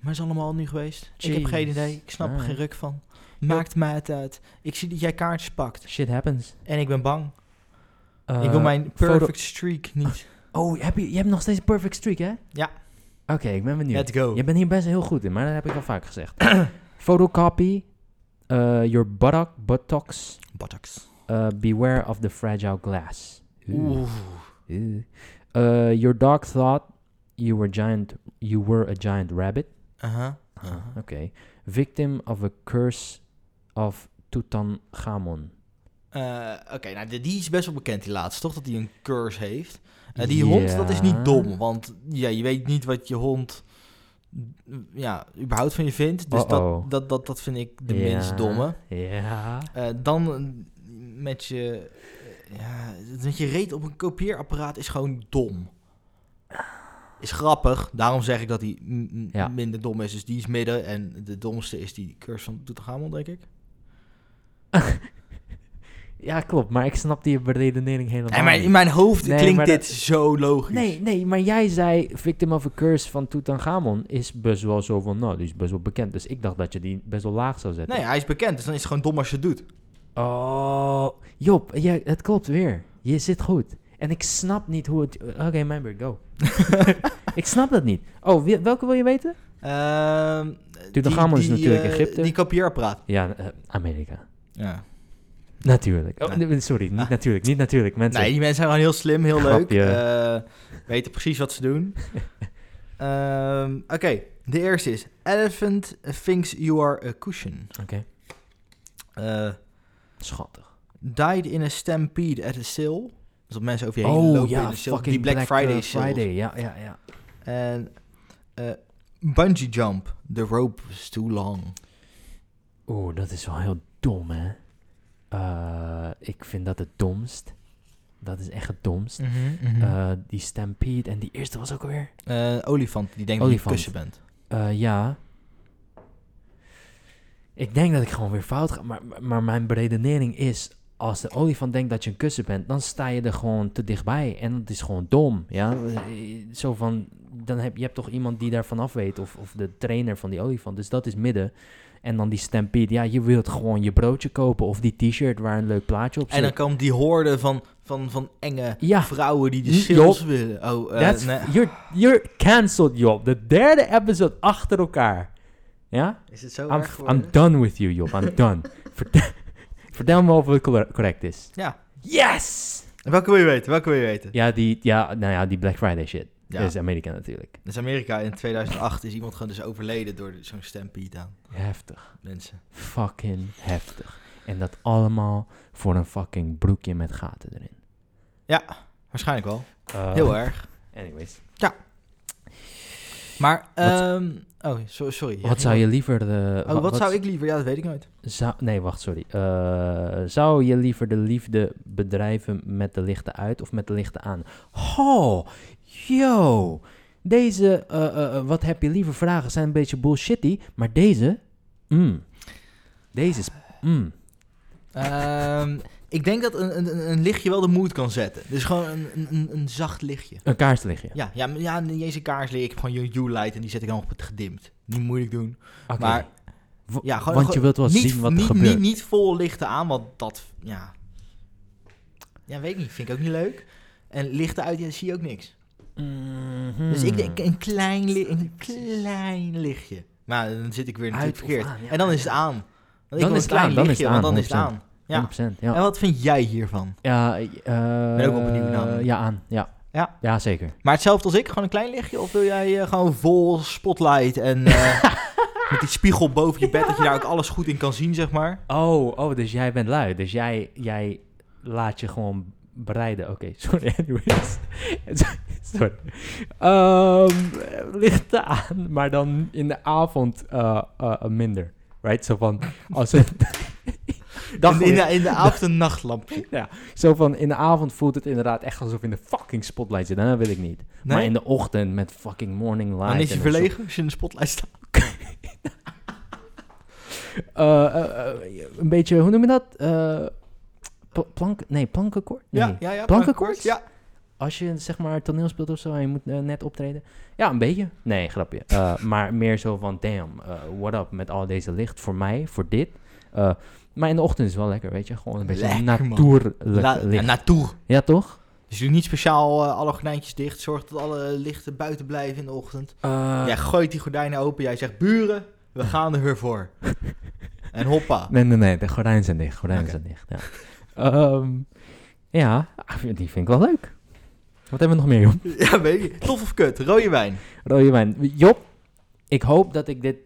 Speaker 1: Maar is allemaal nu geweest. Ik heb
Speaker 2: Jeez.
Speaker 1: geen idee. Ik snap er
Speaker 2: Ah.
Speaker 1: geen ruk van. Maakt mij het uit. Ik zie dat jij kaartjes pakt.
Speaker 2: Shit happens.
Speaker 1: En ik ben bang. ik
Speaker 2: Eh,
Speaker 1: wil mijn
Speaker 2: foto-
Speaker 1: perfect streak niet.
Speaker 2: Oh, heb je, je hebt nog steeds een perfect streak, hè?
Speaker 1: Ja.
Speaker 2: Oké, ik ben benieuwd.
Speaker 1: Let's go.
Speaker 2: Je bent hier best heel goed in, maar dat heb ik al vaak gezegd. Photocopy eh, your buttock, buttocks.
Speaker 1: Buttocks.
Speaker 2: eh, beware of the fragile glass. Oeh.
Speaker 1: Oeh.
Speaker 2: Ew. Uh, your dog thought you were giant. You were a giant rabbit.
Speaker 1: Aha.
Speaker 2: Ah,
Speaker 1: Uh-huh.
Speaker 2: okay. Victim of a curse of Tutankhamun.
Speaker 1: Eh, Oké, nou die- die is best wel bekend, die laatste, toch? Dat hij een curse heeft. Eh, die hond, dat is niet dom, want ja, je weet niet wat je hond mm, ja, überhaupt van je vindt. Dus
Speaker 2: Uh-oh.
Speaker 1: dat, dat, dat, dat vind ik de
Speaker 2: Ja.
Speaker 1: minst domme.
Speaker 2: Ja.
Speaker 1: Eh, dan eh, met je, eh, ja, met je reet op een kopieerapparaat is gewoon dom. Is grappig, daarom zeg ik dat hij m- m-
Speaker 2: Ja.
Speaker 1: minder dom is. Dus die is midden en de domste is die curse van Tutankhamon, denk ik.
Speaker 2: Ja, klopt. Maar ik snap die beredenering helemaal
Speaker 1: Nee, maar in
Speaker 2: niet.
Speaker 1: mijn hoofd
Speaker 2: Nee, maar
Speaker 1: klinkt
Speaker 2: dat-
Speaker 1: dit zo logisch.
Speaker 2: Nee, nee, maar jij zei Victim of a Curse van Tutankhamon is best wel zo van, nou, die is best wel bekend. Dus ik dacht dat je die best wel laag zou zetten.
Speaker 1: Nee, hij is bekend, dus dan is het gewoon dom als je het doet.
Speaker 2: Oh, Job, ja, het klopt weer. Je zit goed. En ik snap niet hoe het... Oké, mijn beurt, go. ik snap dat niet. Oh, wie- welke wil je weten?
Speaker 1: Ehm,
Speaker 2: Tutankhamon is
Speaker 1: Eh, die,
Speaker 2: natuurlijk
Speaker 1: eh,
Speaker 2: Egypte.
Speaker 1: Die kopieerapparaat.
Speaker 2: Ja, eh, Amerika.
Speaker 1: Ja.
Speaker 2: Natuurlijk. Oh,
Speaker 1: Nee.
Speaker 2: nee, sorry, niet natuurlijk, niet natuurlijk. Mensen,
Speaker 1: Ah. Nee, die mensen zijn gewoon heel slim, heel leuk.
Speaker 2: Grapje.
Speaker 1: eh, weten precies wat ze doen. Ehm, Oké, de eerste is... Elephant thinks you are a cushion.
Speaker 2: Oké.
Speaker 1: Eh,
Speaker 2: schattig.
Speaker 1: died in a stampede at a sale. Dus dat mensen over je heen
Speaker 2: Oh
Speaker 1: lopen
Speaker 2: ja,
Speaker 1: in de sale.
Speaker 2: fucking
Speaker 1: Die Black, Friday
Speaker 2: eh,
Speaker 1: sales.
Speaker 2: Friday, ja, ja, ja.
Speaker 1: En eh, bungee jump. The rope is too long.
Speaker 2: Oeh, dat is wel heel dom, hè. Eh, ik vind dat het domst. Dat is echt het domst.
Speaker 1: Mhm.
Speaker 2: Eh, die Stampede en die eerste was ook alweer...
Speaker 1: Eh, olifant, die denkt dat je een
Speaker 2: Olifant.
Speaker 1: kussen bent.
Speaker 2: Eh, ja. Ik denk dat ik gewoon weer fout ga. Maar, maar- maar mijn beredenering is... Als de olifant denkt dat je een kussen bent... dan sta je er gewoon te dichtbij. En dat is gewoon dom. Ja? Eh, Zo van... Dan heb, je hebt toch iemand die daarvan af weet... Of, of de trainer van die olifant. Dus dat is midden. En dan die stampede. Ja, je wilt gewoon je broodje kopen... of die t-shirt waar een leuk plaatje op zit.
Speaker 1: En dan kwam die hoorde van, van, van enge
Speaker 2: ja,
Speaker 1: vrouwen die de
Speaker 2: Niet
Speaker 1: sales willen. Oh, eh,
Speaker 2: that's,
Speaker 1: nee.
Speaker 2: you're, you're cancelled, joh. De derde episode achter elkaar. Ja?
Speaker 1: Is het zo
Speaker 2: I'm,
Speaker 1: erg
Speaker 2: I'm
Speaker 1: geworden?
Speaker 2: done with you, Job. I'm done. vertel, vertel me of het cor- correct is.
Speaker 1: Ja.
Speaker 2: Yes!
Speaker 1: Welke wil je weten? Welke wil je weten?
Speaker 2: Ja, die, ja, nou ja, die Black Friday shit.
Speaker 1: Ja.
Speaker 2: Dat is Amerika natuurlijk.
Speaker 1: Dus Amerika in 2008 is iemand gewoon dus overleden door zo'n stampede aan
Speaker 2: Heftig.
Speaker 1: mensen.
Speaker 2: Fucking heftig. En dat allemaal voor een fucking broekje met gaten erin.
Speaker 1: Waarschijnlijk wel.
Speaker 2: Eh,
Speaker 1: Heel erg.
Speaker 2: Anyways.
Speaker 1: Maar, ehm, oh, so- sorry. Ja,
Speaker 2: wat zou je liever... De,
Speaker 1: Oh, wat, zou ik liever? Ja, dat weet ik nooit.
Speaker 2: zou- nee, wacht, sorry. Eh, zou je liever de liefde bedrijven met de lichten uit of met de lichten aan? Oh, yo. Deze, eh, eh, eh, wat heb je liever vragen zijn een beetje bullshitty, maar deze, mm. Deze is, mm.
Speaker 1: Ehm, ik denk dat een, een, een lichtje wel de moed kan zetten. Dus gewoon een, een- een, een zacht lichtje.
Speaker 2: Een kaarslichtje.
Speaker 1: Ja, ja, maar- ja niet eens een kaars Ik heb gewoon je U-light en die zet ik dan op het gedimd. Niet moeilijk doen.
Speaker 2: Oké.
Speaker 1: maar-
Speaker 2: Wa-
Speaker 1: Ja, gewoon,
Speaker 2: want je wilt wel
Speaker 1: niet,
Speaker 2: zien wat er
Speaker 1: niet,
Speaker 2: gebeurt.
Speaker 1: Niet, niet vol lichten aan, want dat, ja. Ja, weet ik niet. Vind ik ook niet leuk. En lichten uit, ja, zie je ook niks.
Speaker 2: Mhm.
Speaker 1: Dus
Speaker 2: Hmm.
Speaker 1: ik denk een klein, li- een klein lichtje. Maar dan zit ik weer natuurlijk
Speaker 2: Uit of
Speaker 1: verkeerd.
Speaker 2: aan, ja,
Speaker 1: en dan
Speaker 2: ja,
Speaker 1: is het
Speaker 2: ja.
Speaker 1: aan. Want ik
Speaker 2: Dan
Speaker 1: wil
Speaker 2: is
Speaker 1: een
Speaker 2: het
Speaker 1: klein
Speaker 2: aan, dan is
Speaker 1: lichtje,
Speaker 2: het
Speaker 1: want dan
Speaker 2: aan,
Speaker 1: is het aan. Ja.
Speaker 2: 100%, ja.
Speaker 1: En wat vind jij hiervan?
Speaker 2: Ja, eh,
Speaker 1: Ben ook wel benieuwd namelijk.
Speaker 2: Ja, aan. Ja.
Speaker 1: Ja.
Speaker 2: zeker.
Speaker 1: Maar hetzelfde als ik, gewoon een klein lichtje? Of wil jij eh, gewoon vol spotlight en eh, met die spiegel boven je bed, dat je daar ook alles goed in kan zien, zeg maar?
Speaker 2: Oh, oh, dus jij bent lui. Dus jij, jij laat je gewoon bereiden. Oké, sorry, anyways. sorry. Ehm, licht aan, maar dan in de avond eh, eh, minder. Right? Zo van, als het...
Speaker 1: Dan in, de, in de avond een nachtlampje.
Speaker 2: Zo van, in de avond voelt het inderdaad echt alsof je in de fucking spotlight zit. En dat wil ik niet.
Speaker 1: Nee?
Speaker 2: Maar in de ochtend met fucking morning light.
Speaker 1: dan is je
Speaker 2: en een soort-
Speaker 1: verlegen als je in de spotlight staat.
Speaker 2: Eh, eh, eh, een beetje, hoe noem je dat? Eh, pl- plank, nee, plankenkoord? Nee.
Speaker 1: Ja, ja, ja.
Speaker 2: Plankenkoord?
Speaker 1: Ja.
Speaker 2: Als je zeg maar toneel speelt of zo en je moet eh, net optreden. Ja, een beetje. Nee, grapje. Eh, maar meer zo van, damn, eh, what up met al deze licht voor mij, voor dit. Eh, maar in de ochtend is wel lekker, weet je. Gewoon een beetje
Speaker 1: Lekker, man.
Speaker 2: natuurlijk
Speaker 1: La, ja,
Speaker 2: licht.
Speaker 1: natuur.
Speaker 2: Ja, toch?
Speaker 1: Dus doe niet speciaal eh, alle gordijntjes dicht. Zorg dat alle lichten buiten blijven in de ochtend.
Speaker 2: Ah.
Speaker 1: jij gooit die gordijnen open. Jij zegt, buren, we gaan er weer voor. en hoppa.
Speaker 2: Nee, nee, nee. De gordijnen zijn dicht. Gordijnen
Speaker 1: Oké.
Speaker 2: zijn dicht, ja. Ehm, ja, ah, die vind ik wel leuk. Wat hebben we nog meer, Job?
Speaker 1: Ja, weet je. Tof of kut? Rode wijn.
Speaker 2: Rode wijn. Job, ik hoop dat ik dit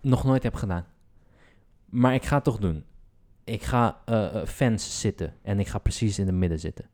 Speaker 2: nog nooit heb gedaan. Maar ik ga het toch doen. Ik ga eh, eh, fans zitten en ik ga precies in het midden zitten.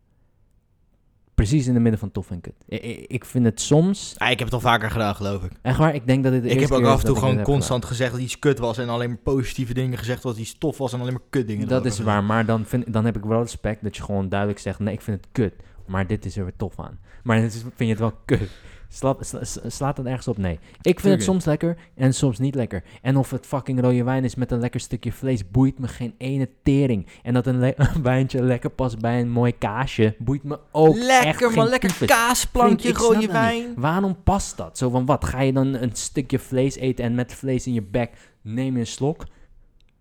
Speaker 2: Precies in het midden van tof en kut. I- I- ik vind het soms...
Speaker 1: Ah, ik heb het al vaker gedaan, geloof ik.
Speaker 2: Echt waar, ik denk dat dit de
Speaker 1: ik heb
Speaker 2: eerste
Speaker 1: ook
Speaker 2: keer
Speaker 1: af
Speaker 2: is
Speaker 1: en toe
Speaker 2: dat ik
Speaker 1: gewoon
Speaker 2: dit heb
Speaker 1: constant gezegd dat iets kut was. En alleen maar positieve dingen gezegd dat iets tof was. En alleen maar kut dingen.
Speaker 2: gedaan. Dat
Speaker 1: erover
Speaker 2: is waar, maar dan, vind, dan heb ik wel respect dat je gewoon duidelijk zegt... Nee, ik vind het kut, maar dit is er weer tof aan. Maar dit is- vind je het wel kut. Sla, sla- sla- slaat het ergens op? Nee. Ik vind
Speaker 1: Tuurlijk.
Speaker 2: het soms lekker en soms niet lekker. En of het fucking rode wijn is met een lekker stukje vlees, boeit me geen ene tering. En dat een, le- een wijntje lekker past bij een mooi kaasje, boeit me ook echt
Speaker 1: Lekker
Speaker 2: geen
Speaker 1: man, lekker
Speaker 2: tyfus.
Speaker 1: kaasplankje,
Speaker 2: Vriend, ik snap
Speaker 1: rode
Speaker 2: dat niet.
Speaker 1: wijn.
Speaker 2: Waarom past dat? Zo van wat? Ga je dan een stukje vlees eten en met vlees in je bek neem je een slok?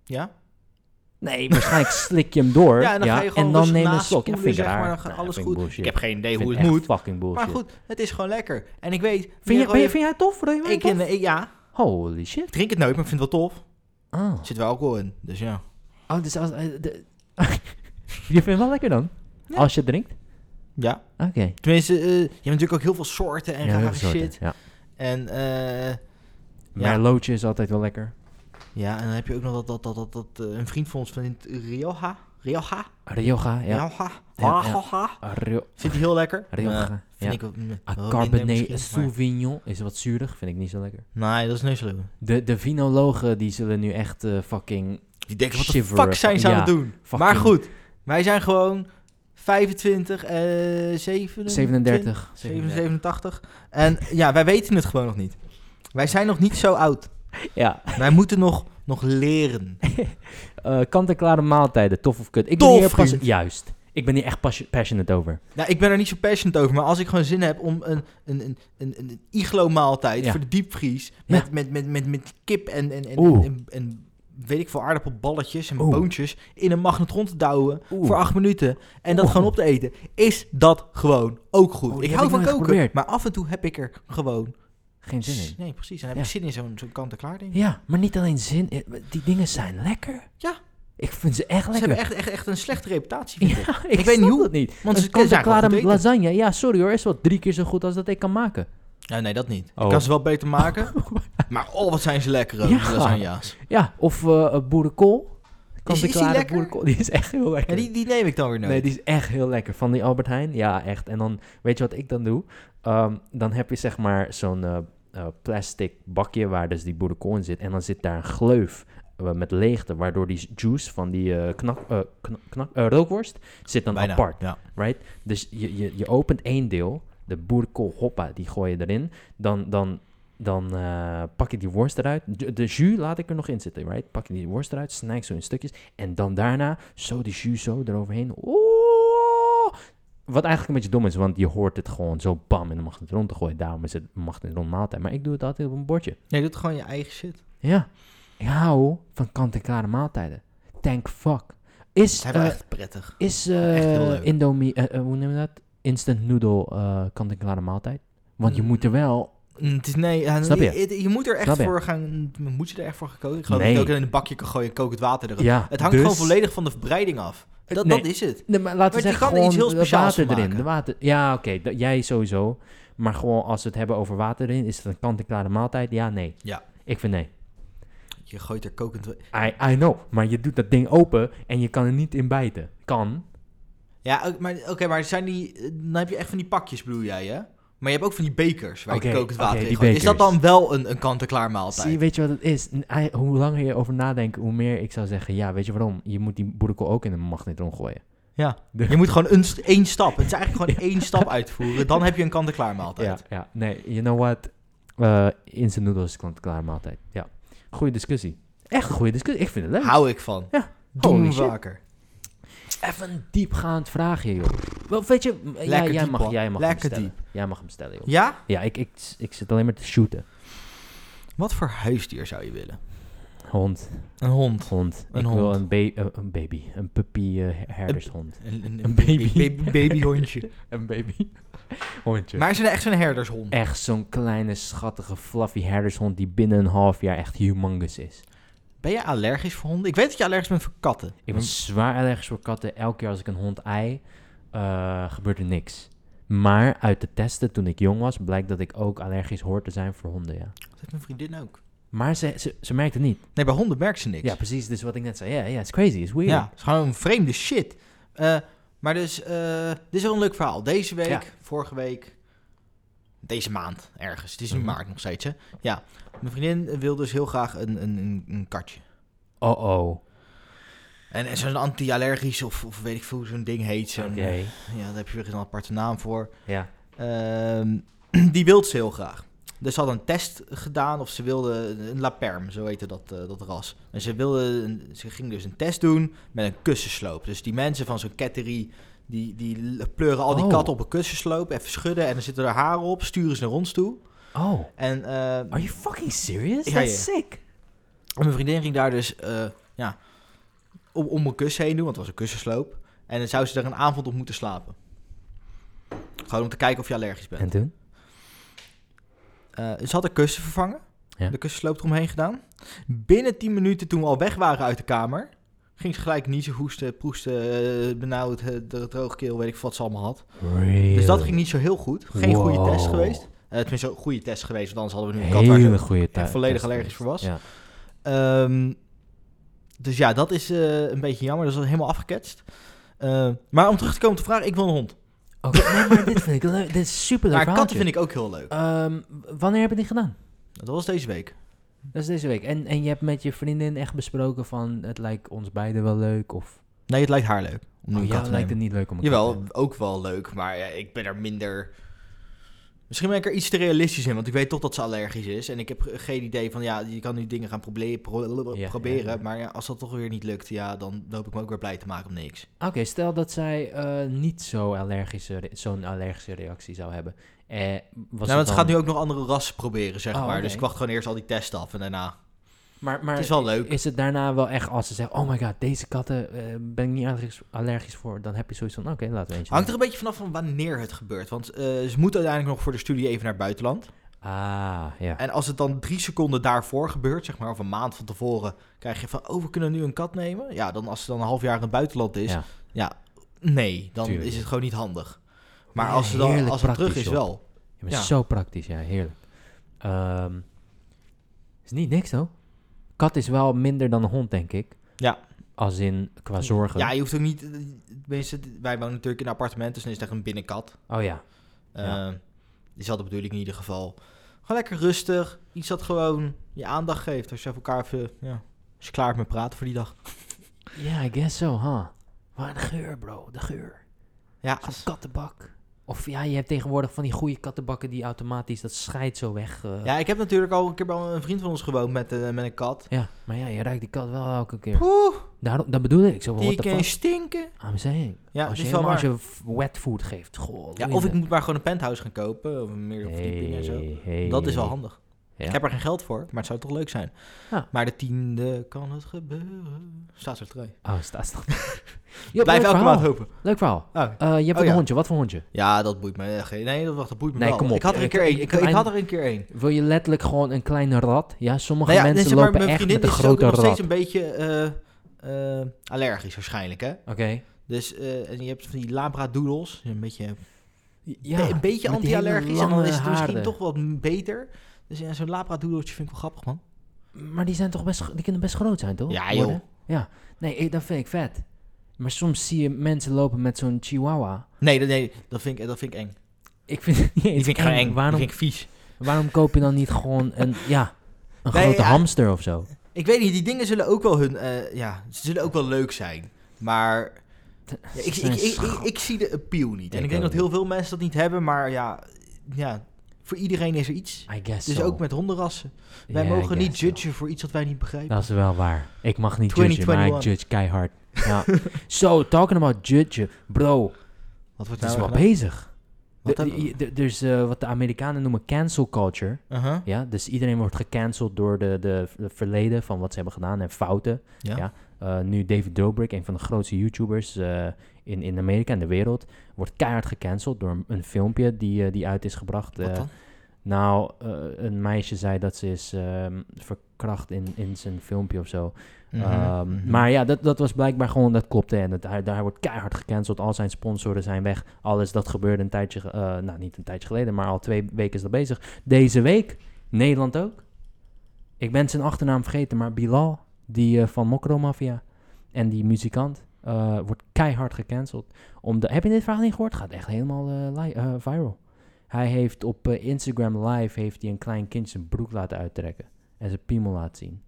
Speaker 1: Ja?
Speaker 2: Nee, waarschijnlijk slik je hem door.
Speaker 1: ja, en dan ga je gewoon
Speaker 2: dan
Speaker 1: rustig
Speaker 2: neem je een
Speaker 1: naast
Speaker 2: slok. Ja,
Speaker 1: spoelen,
Speaker 2: vind
Speaker 1: zeg
Speaker 2: ik raar.
Speaker 1: maar, dan gaat
Speaker 2: Nee,
Speaker 1: alles
Speaker 2: vind ik
Speaker 1: goed.
Speaker 2: bullshit.
Speaker 1: Ik heb geen idee
Speaker 2: Vind
Speaker 1: hoe
Speaker 2: het
Speaker 1: het
Speaker 2: echt
Speaker 1: moet.
Speaker 2: fucking bullshit.
Speaker 1: Maar goed, het is gewoon lekker. En ik weet...
Speaker 2: Vind, je,
Speaker 1: meer
Speaker 2: vind, je-
Speaker 1: rode-
Speaker 2: vind jij het tof? Rode wijn
Speaker 1: Ik,
Speaker 2: tof?
Speaker 1: eh, ik- ja,
Speaker 2: Holy shit.
Speaker 1: ik drink het nooit, maar ik vind het wel tof.
Speaker 2: Ah.
Speaker 1: Er zit wel alcohol in, Oh. dus ja.
Speaker 2: Oh, dus als... eh, de- je vindt het wel lekker dan?
Speaker 1: Ja.
Speaker 2: Als je het drinkt?
Speaker 1: Ja,
Speaker 2: Oké.
Speaker 1: tenminste, eh, je hebt natuurlijk ook heel veel soorten en
Speaker 2: heel
Speaker 1: rare
Speaker 2: veel soorten,
Speaker 1: shit.
Speaker 2: Ja.
Speaker 1: En, eh,
Speaker 2: Merlotje is altijd wel lekker.
Speaker 1: ja, en dan heb je ook nog dat, dat, dat, dat, dat, eh, een vriend van ons vindt Rioja. Rioja?
Speaker 2: Rioja, ja.
Speaker 1: Rioja?
Speaker 2: Ja, ja.
Speaker 1: Rioja?
Speaker 2: Rio-
Speaker 1: Vindt hij heel lekker.
Speaker 2: Rioja,
Speaker 1: Maar
Speaker 2: ja.
Speaker 1: Vind ik ook, mm, wel
Speaker 2: A
Speaker 1: minder
Speaker 2: Cabernet
Speaker 1: misschien, maar-
Speaker 2: Sauvignon is wat zuurig, vind ik niet zo lekker.
Speaker 1: Nee, dat is niet zo leuk.
Speaker 2: De, de vinologen die zullen nu echt eh, fucking...
Speaker 1: Die denken, wat de
Speaker 2: Shiveren,
Speaker 1: fuck zijn ze
Speaker 2: ja,
Speaker 1: aan het doen?
Speaker 2: fucking-
Speaker 1: Maar goed, wij zijn gewoon 25, eh 27,
Speaker 2: 37. 37.
Speaker 1: 87. En ja, wij weten het gewoon nog niet. Wij zijn nog niet zo oud.
Speaker 2: Ja.
Speaker 1: Wij moeten nog, nog leren.
Speaker 2: Eh, Kant-en-klare maaltijden, tof of kut. Ik
Speaker 1: Tof,
Speaker 2: ben hier pas...
Speaker 1: vriend.
Speaker 2: Juist. Ik ben hier echt pas- passionate over.
Speaker 1: Nou, ik ben er niet zo passionate over, maar als ik gewoon zin heb om een, een, een, een, een iglo-maaltijd
Speaker 2: Ja.
Speaker 1: voor de diepvries met, met, met, met, met kip en, en, en,
Speaker 2: Oeh.
Speaker 1: en, en weet ik veel aardappelballetjes en
Speaker 2: Oeh.
Speaker 1: boontjes in een magnetron te douwen
Speaker 2: Oeh.
Speaker 1: voor acht minuten en dat
Speaker 2: Oeh.
Speaker 1: gewoon op te eten, is dat gewoon ook goed.
Speaker 2: Oh, die
Speaker 1: ik
Speaker 2: heb
Speaker 1: hou
Speaker 2: ik
Speaker 1: van
Speaker 2: nooit
Speaker 1: koken,
Speaker 2: geprobeerd.
Speaker 1: maar af en toe heb ik er gewoon
Speaker 2: Geen zin in.
Speaker 1: Nee, precies. Dan heb
Speaker 2: Ja.
Speaker 1: ik zin in zo'n zo'n kant-en-klaar ding.
Speaker 2: Ja, maar niet alleen zin... eh, Die dingen zijn lekker.
Speaker 1: Ja.
Speaker 2: Ik vind ze echt
Speaker 1: Ze
Speaker 2: lekker.
Speaker 1: hebben echt, echt, echt een slechte reputatie. vind
Speaker 2: Ja,
Speaker 1: ik. weet
Speaker 2: ik, weet
Speaker 1: niet
Speaker 2: niet
Speaker 1: hoe,
Speaker 2: het niet.
Speaker 1: Want ze
Speaker 2: Een
Speaker 1: kunnen eigenlijk
Speaker 2: kant-en-klare
Speaker 1: goed eten.
Speaker 2: lasagne. Ja, sorry hoor, is wel drie keer zo goed als dat ik kan maken.
Speaker 1: Nou, nee, dat niet. Ik
Speaker 2: Oh.
Speaker 1: kan ze wel beter maken. maar oh, wat zijn ze lekker, ook, die
Speaker 2: Ja.
Speaker 1: lasagne's.
Speaker 2: Ja, of eh, eh, boerenkool. Kant-en-klare
Speaker 1: lekker?
Speaker 2: boerenkool. Die is echt heel lekker.
Speaker 1: Ja, die, die neem ik dan weer nooit.
Speaker 2: Nee, die is echt heel lekker. Van die Albert Heijn, ja, echt. En dan, weet je wat ik dan doe? Ehm, dan heb je zeg maar zo'n eh, eh, plastic bakje waar dus die boerenkool in zit. En dan zit daar een gleuf eh, met leegte, waardoor die juice van die eh, knak, eh, knak, knak- eh, rookworst zit dan
Speaker 1: Bijna,
Speaker 2: apart.
Speaker 1: Ja.
Speaker 2: right? Dus je, je, je opent één deel, de boerenkool hoppa, die gooi je erin. Dan, dan, dan eh, pak je die worst eruit. De, de jus laat ik er nog in zitten, right? Pak je die worst eruit, snij ik zo in stukjes. En dan daarna zo die jus zo eroverheen. Oeh! Wat eigenlijk een beetje dom is, want je hoort het gewoon zo bam in de magnetron te gooien. Daarom is het magnetron maaltijd. Maar ik doe het altijd op een bordje.
Speaker 1: Nee, doet gewoon je eigen shit.
Speaker 2: Ja, ik hou van kant-en-klare maaltijden. Thank fuck. Is,
Speaker 1: Het zijn wel
Speaker 2: eh,
Speaker 1: echt prettig.
Speaker 2: is
Speaker 1: Echt heel
Speaker 2: eh,
Speaker 1: leuk.
Speaker 2: Indomie, eh, eh, hoe noem je dat? Instant noodle eh, kant-en-klare maaltijd. Want je moet er wel
Speaker 1: Mm, Het is, nee, ja,
Speaker 2: Snap je?
Speaker 1: je? je moet er echt
Speaker 2: Snap je?
Speaker 1: voor gaan. Moet je er echt voor gaan koken? Ik geloof
Speaker 2: Nee.
Speaker 1: dat je het ook in een bakje kan gooien, kook het water erin.
Speaker 2: Ja,
Speaker 1: het hangt
Speaker 2: dus-
Speaker 1: gewoon volledig van de verbreiding af. Dat,
Speaker 2: Nee.
Speaker 1: dat is het.
Speaker 2: Nee, maar laten we
Speaker 1: Maar je
Speaker 2: zeggen,
Speaker 1: kan er
Speaker 2: gewoon
Speaker 1: iets heel
Speaker 2: de
Speaker 1: speciaals
Speaker 2: water
Speaker 1: van
Speaker 2: erin.
Speaker 1: maken.
Speaker 2: De water, ja, oké, dat- jij sowieso. Maar gewoon als we het hebben over water erin, is het een kant-en-klare maaltijd? Ja, nee.
Speaker 1: Ja.
Speaker 2: Ik vind nee.
Speaker 1: Je gooit er kokend.
Speaker 2: I, I know, maar je doet dat ding open en je kan er niet in bijten. Kan.
Speaker 1: Ja, ook- maar oké, maar zijn die. eh, Dan heb je echt van die pakjes, bedoel jij, hè? Maar je hebt ook van die bekers waar
Speaker 2: Oké,
Speaker 1: je kokend water
Speaker 2: oké,
Speaker 1: in
Speaker 2: die
Speaker 1: gooit. Is dat
Speaker 2: bekers.
Speaker 1: dan wel een, een kant-en-klaar maaltijd?
Speaker 2: Zie, weet je wat het is? N- I- hoe langer je over nadenkt, hoe meer ik zou zeggen, ja, weet je waarom? Je moet die boerenkool ook in een magnetron gooien.
Speaker 1: Ja.
Speaker 2: De-
Speaker 1: Je moet gewoon een, st- één stap. Het is eigenlijk gewoon één stap uitvoeren. Dan heb je een kant-en-klaar maaltijd.
Speaker 2: Ja, ja, nee, you know what? Eh instant noodles is kant-en-klare maaltijd. Ja. Goeie discussie. Echt een goede discussie. Ik vind het leuk.
Speaker 1: Hou ik van.
Speaker 2: Ja.
Speaker 1: Doen
Speaker 2: Holy
Speaker 1: we
Speaker 2: shit.
Speaker 1: vaker.
Speaker 2: Even een diepgaand vraagje, joh. Wel, weet je, m- ja,
Speaker 1: Lekker
Speaker 2: jij,
Speaker 1: diep,
Speaker 2: mag,
Speaker 1: hoor.
Speaker 2: jij mag
Speaker 1: Lekker
Speaker 2: hem stellen. Jij mag hem stellen, joh.
Speaker 1: Ja?
Speaker 2: Ja, ik, ik, ik zit alleen maar te shooten.
Speaker 1: Wat voor huisdier zou je willen?
Speaker 2: Hond,
Speaker 1: Een hond.
Speaker 2: hond.
Speaker 1: Een
Speaker 2: ik wil
Speaker 1: hond.
Speaker 2: een, ba- eh, een baby, een puppy eh, her- herdershond.
Speaker 1: Een, een,
Speaker 2: Een
Speaker 1: baby.
Speaker 2: baby.
Speaker 1: baby- babyhondje.
Speaker 2: Een baby? Hondje.
Speaker 1: maar is het echt zo'n herdershond?
Speaker 2: Echt zo'n kleine, schattige, fluffy herdershond die binnen een half jaar echt humongous is.
Speaker 1: Ben je allergisch voor honden? Ik weet dat je allergisch bent voor katten.
Speaker 2: Ik ben zwaar allergisch voor katten. Elke keer als ik een hond ei, eh, gebeurt er niks. Maar uit de testen toen ik jong was, blijkt dat ik ook allergisch hoor te zijn voor honden, ja.
Speaker 1: Dat heeft mijn vriendin ook.
Speaker 2: Maar ze, ze, ze merkte het niet.
Speaker 1: Nee, bij honden merkt ze niks.
Speaker 2: Ja, precies. Dus wat ik net zei. Ja, ja, it's crazy. It's weird.
Speaker 1: Ja, het is gewoon vreemde shit. Eh, maar dus, eh, dit is wel een leuk verhaal. Deze week,
Speaker 2: Ja.
Speaker 1: vorige week, deze maand ergens. Het is nu
Speaker 2: Mhm.
Speaker 1: maart nog steeds, hè? Ja. Mijn vriendin wil dus heel graag een, een, een, een katje.
Speaker 2: Oh, oh.
Speaker 1: En, en zo'n anti-allergisch of, of weet ik veel hoe zo'n ding heet. Zo'n, Ja, daar heb je weer een aparte naam voor.
Speaker 2: Ja.
Speaker 1: Ehm, die wil ze heel graag. Dus ze had een test gedaan of ze wilde een laperm, zo heette dat, eh, dat ras. En ze, wilde een- ze ging dus een test doen met een kussensloop. Dus die mensen van zo'n ketterie, die, die l- pleuren al die
Speaker 2: Oh.
Speaker 1: katten op een kussensloop, even schudden en dan zitten er haren op, sturen ze naar ons toe.
Speaker 2: Oh.
Speaker 1: En eh,
Speaker 2: Are you fucking serious?
Speaker 1: Ja,
Speaker 2: That's
Speaker 1: ja.
Speaker 2: sick.
Speaker 1: mijn vriendin ging daar dus eh, ja, om, om een kus heen doen, want het was een kussensloop. En dan zou ze daar een avond op moeten slapen. Gewoon om te kijken of je allergisch bent.
Speaker 2: En toen?
Speaker 1: Eh, ze had de kussen vervangen.
Speaker 2: Ja.
Speaker 1: De kussen sloopt eromheen gedaan. Binnen 10 minuten toen we al weg waren uit de kamer... ging ze gelijk niezen, hoesten, proesten, eh, benauwd, eh, dro- droge keel, weet ik wat ze allemaal had. Dus dat ging niet zo heel goed. Geen goede
Speaker 2: Wow.
Speaker 1: test geweest. Eh, tenminste, een goede test geweest, want anders hadden we nu een kat waar
Speaker 2: Hele
Speaker 1: ze-
Speaker 2: goede tijd.
Speaker 1: volledig allergisch voor was.
Speaker 2: Ja.
Speaker 1: Ehm, dus ja, dat is eh, een beetje jammer. Dat is helemaal afgeketst. Eh, maar om terug te komen op de vraag, ik wil een hond.
Speaker 2: Oké, nee, maar dit vind ik leuk. Dit is super leuk. Ehm,
Speaker 1: Maar katten vind ik ook heel leuk.
Speaker 2: wanneer heb je dit gedaan?
Speaker 1: Dat was deze week.
Speaker 2: Dat is deze week. En, en je hebt met je vriendin echt besproken van het lijkt ons beiden wel leuk of...
Speaker 1: Nee, het lijkt haar leuk. Om nu
Speaker 2: Oh,
Speaker 1: een kat
Speaker 2: jou
Speaker 1: te nemen.
Speaker 2: lijkt het niet leuk om een kat te
Speaker 1: Jawel,
Speaker 2: hebben.
Speaker 1: ook wel leuk, maar ja, ik ben er minder... Misschien ben ik er iets te realistisch in, want ik weet toch dat ze allergisch is. En ik heb geen idee van, ja, je kan nu dingen gaan proberen, pro-
Speaker 2: Ja,
Speaker 1: proberen
Speaker 2: ja, ja.
Speaker 1: maar ja, als dat toch weer niet lukt, ja, dan loop ik me ook weer blij te maken om niks.
Speaker 2: Oké, stel dat zij eh, niet zo allergische re- zo'n allergische reactie zou hebben. Eh, was het
Speaker 1: nou, want ze
Speaker 2: dan-
Speaker 1: gaat nu ook nog andere rassen proberen, zeg
Speaker 2: Oh,
Speaker 1: maar.
Speaker 2: oké.
Speaker 1: Dus ik wacht gewoon eerst al die testen af en daarna...
Speaker 2: Maar, maar
Speaker 1: het is wel leuk.
Speaker 2: is het daarna wel echt als ze zegt... Oh my god, deze katten eh, ben ik niet allergisch, allergisch voor. Dan heb je zoiets van... Oké, laten we eentje
Speaker 1: Hangt er
Speaker 2: doen.
Speaker 1: een beetje vanaf van wanneer het gebeurt. Want eh, ze moet uiteindelijk nog voor de studie even naar het buitenland.
Speaker 2: Ah, ja.
Speaker 1: En als het dan drie seconden daarvoor gebeurt, zeg maar, of een maand van tevoren... krijg je van, oh, we kunnen nu een kat nemen. Ja, dan als ze dan een half jaar in het buitenland is...
Speaker 2: ja.
Speaker 1: Nee, dan
Speaker 2: Tuurlijk.
Speaker 1: is het gewoon niet handig. Maar
Speaker 2: Ja,
Speaker 1: als ze dan
Speaker 2: heerlijk
Speaker 1: als het terug is
Speaker 2: praktisch,
Speaker 1: wel.
Speaker 2: Je bent
Speaker 1: Ja.
Speaker 2: zo praktisch, ja, heerlijk. Ehm, is niet niks, hoor. Kat is wel minder dan een hond, denk ik.
Speaker 1: Ja.
Speaker 2: Als in qua zorgen.
Speaker 1: Ja, je hoeft ook niet. eh, Tenminste, wij wonen natuurlijk in een appartement, dus dan is het echt een binnenkat.
Speaker 2: Oh ja. Ja.
Speaker 1: Eh, is dat de bedoeling in ieder geval. Gewoon lekker rustig. Iets dat gewoon je aandacht geeft. Als je even elkaar even. Ja, als je klaar bent met praten voor die dag.
Speaker 2: Ja, I guess so, huh. Maar de geur, bro. De geur.
Speaker 1: Ja,
Speaker 2: Zo'n kattenbak. Of ja, je hebt tegenwoordig van die goede kattenbakken die automatisch dat scheidt zo weg. eh. ja.
Speaker 1: ja, ik heb natuurlijk al een keer bij een vriend van ons gewoond met, eh, met een kat.
Speaker 2: maar ja, je ruikt die kat wel elke keer.
Speaker 1: Poeh,
Speaker 2: Daarom, dat bedoel ik. Zo,
Speaker 1: die
Speaker 2: what the
Speaker 1: kan
Speaker 2: fuck?
Speaker 1: stinken.
Speaker 2: I'm saying.
Speaker 1: Ja,
Speaker 2: als, nou
Speaker 1: dat
Speaker 2: je
Speaker 1: is wel
Speaker 2: helemaal, als
Speaker 1: waar.
Speaker 2: je f- wet food geeft. Goh,
Speaker 1: Ja, of ik moet maar gewoon een penthouse gaan kopen. Of een meerdere verdiepingen en zo. Dat is wel handig.
Speaker 2: Ja.
Speaker 1: Ik heb er geen geld voor, maar het zou toch leuk zijn.
Speaker 2: Ja.
Speaker 1: Maar de tiende kan het gebeuren. Staatsloterij.
Speaker 2: Oh, staat staat.
Speaker 1: Blijf elke maand
Speaker 2: verhaal.
Speaker 1: hopen.
Speaker 2: Leuk verhaal.
Speaker 1: Oh.
Speaker 2: Eh, je hebt
Speaker 1: Oh,
Speaker 2: een
Speaker 1: ja.
Speaker 2: hondje. Wat voor hondje?
Speaker 1: Ja, dat boeit me. echt. Nee, dat, wacht, dat boeit me
Speaker 2: Nee,
Speaker 1: wel.
Speaker 2: kom op.
Speaker 1: Ik had er een
Speaker 2: Ik-
Speaker 1: keer één. Ik,
Speaker 2: ik-
Speaker 1: ik had er een keer één.
Speaker 2: Wil je letterlijk gewoon een kleine rat? Ja, sommige
Speaker 1: Nou ja,
Speaker 2: mensen
Speaker 1: dit is- maar
Speaker 2: lopen echt met een
Speaker 1: is ook
Speaker 2: grote
Speaker 1: nog steeds
Speaker 2: rat.
Speaker 1: een beetje eh, eh, allergisch waarschijnlijk, hè?
Speaker 2: Oké.
Speaker 1: Dus eh, en je hebt van die labradoodles, een beetje,
Speaker 2: Ja,
Speaker 1: een beetje
Speaker 2: met die hele
Speaker 1: anti-allergisch en dan
Speaker 2: lange
Speaker 1: is het misschien
Speaker 2: haarden.
Speaker 1: toch wat m- beter. Dus ja, zo'n labradoodletje vind ik wel grappig, man.
Speaker 2: Maar die zijn toch best, die kunnen best groot zijn, toch?
Speaker 1: Ja, joh.
Speaker 2: Worden? Ja. Nee, ik- dat vind ik vet. Maar soms zie je mensen lopen met zo'n chihuahua.
Speaker 1: Nee, dat- nee dat, vind ik, dat vind ik eng.
Speaker 2: Ik vind het niet
Speaker 1: Die
Speaker 2: eens
Speaker 1: vind ik gewoon eng,
Speaker 2: Waarom,
Speaker 1: die vind ik vies.
Speaker 2: waarom koop je dan niet gewoon een, ja, een
Speaker 1: Nee,
Speaker 2: grote
Speaker 1: ja.
Speaker 2: hamster of zo?
Speaker 1: Ik weet niet, die dingen zullen ook wel hun, eh, ja, ze zullen ook wel leuk zijn. Maar ja, ik,
Speaker 2: Ze
Speaker 1: ik,
Speaker 2: zijn
Speaker 1: ik, ik,
Speaker 2: schat.
Speaker 1: ik zie de appeal niet. En
Speaker 2: Ik
Speaker 1: ik denk
Speaker 2: ook
Speaker 1: dat heel veel mensen dat niet hebben, maar ja, ja voor iedereen is er iets.
Speaker 2: I guess
Speaker 1: Dus
Speaker 2: so.
Speaker 1: ook met hondenrassen. Wij
Speaker 2: Ja, I
Speaker 1: mogen niet
Speaker 2: guess so.
Speaker 1: judgen voor iets wat wij niet begrijpen.
Speaker 2: Dat is wel waar. Ik mag niet judgen, maar ik
Speaker 1: 2021.
Speaker 2: judge keihard. Ja. so, talking about judgen. Bro,
Speaker 1: Wat
Speaker 2: het
Speaker 1: wordt
Speaker 2: is
Speaker 1: nou
Speaker 2: wel
Speaker 1: gedaan?
Speaker 2: bezig.
Speaker 1: Wat
Speaker 2: De-
Speaker 1: hebben we?
Speaker 2: i- de- Dus eh, wat de Amerikanen noemen cancel culture.
Speaker 1: Uh-huh.
Speaker 2: Ja, dus iedereen wordt gecanceld door de, de, de verleden van wat ze hebben gedaan en fouten.
Speaker 1: Ja.
Speaker 2: Ja. Eh, nu David Dobrik, een van de grootste YouTubers eh, in, in Amerika en de wereld, wordt keihard gecanceld door een, een filmpje die, eh, die uit is gebracht. eh,
Speaker 1: Wat dan?
Speaker 2: nou, eh, een meisje zei dat ze is ehm, verkracht in, in zijn filmpje of zo.
Speaker 1: Eh, Mhm,
Speaker 2: Ehm, Maar ja, dat, dat was blijkbaar gewoon, dat klopte. En dat, hij, daar wordt keihard gecanceld. Al zijn sponsoren zijn weg. Alles dat gebeurde een tijdje, ge- eh, nou niet een tijdje geleden, maar al twee weken is dat bezig. Deze week, Nederland ook. Ik ben zijn achternaam vergeten, maar Bilal, die eh, van Mokro Mafia en die muzikant, eh, wordt keihard gecanceld. Om de, heb je dit verhaal niet gehoord? Gaat echt helemaal eh, li- eh, viral. Hij heeft op eh, Instagram Live heeft hij een klein kind zijn broek laten uittrekken. En zijn piemel laten zien.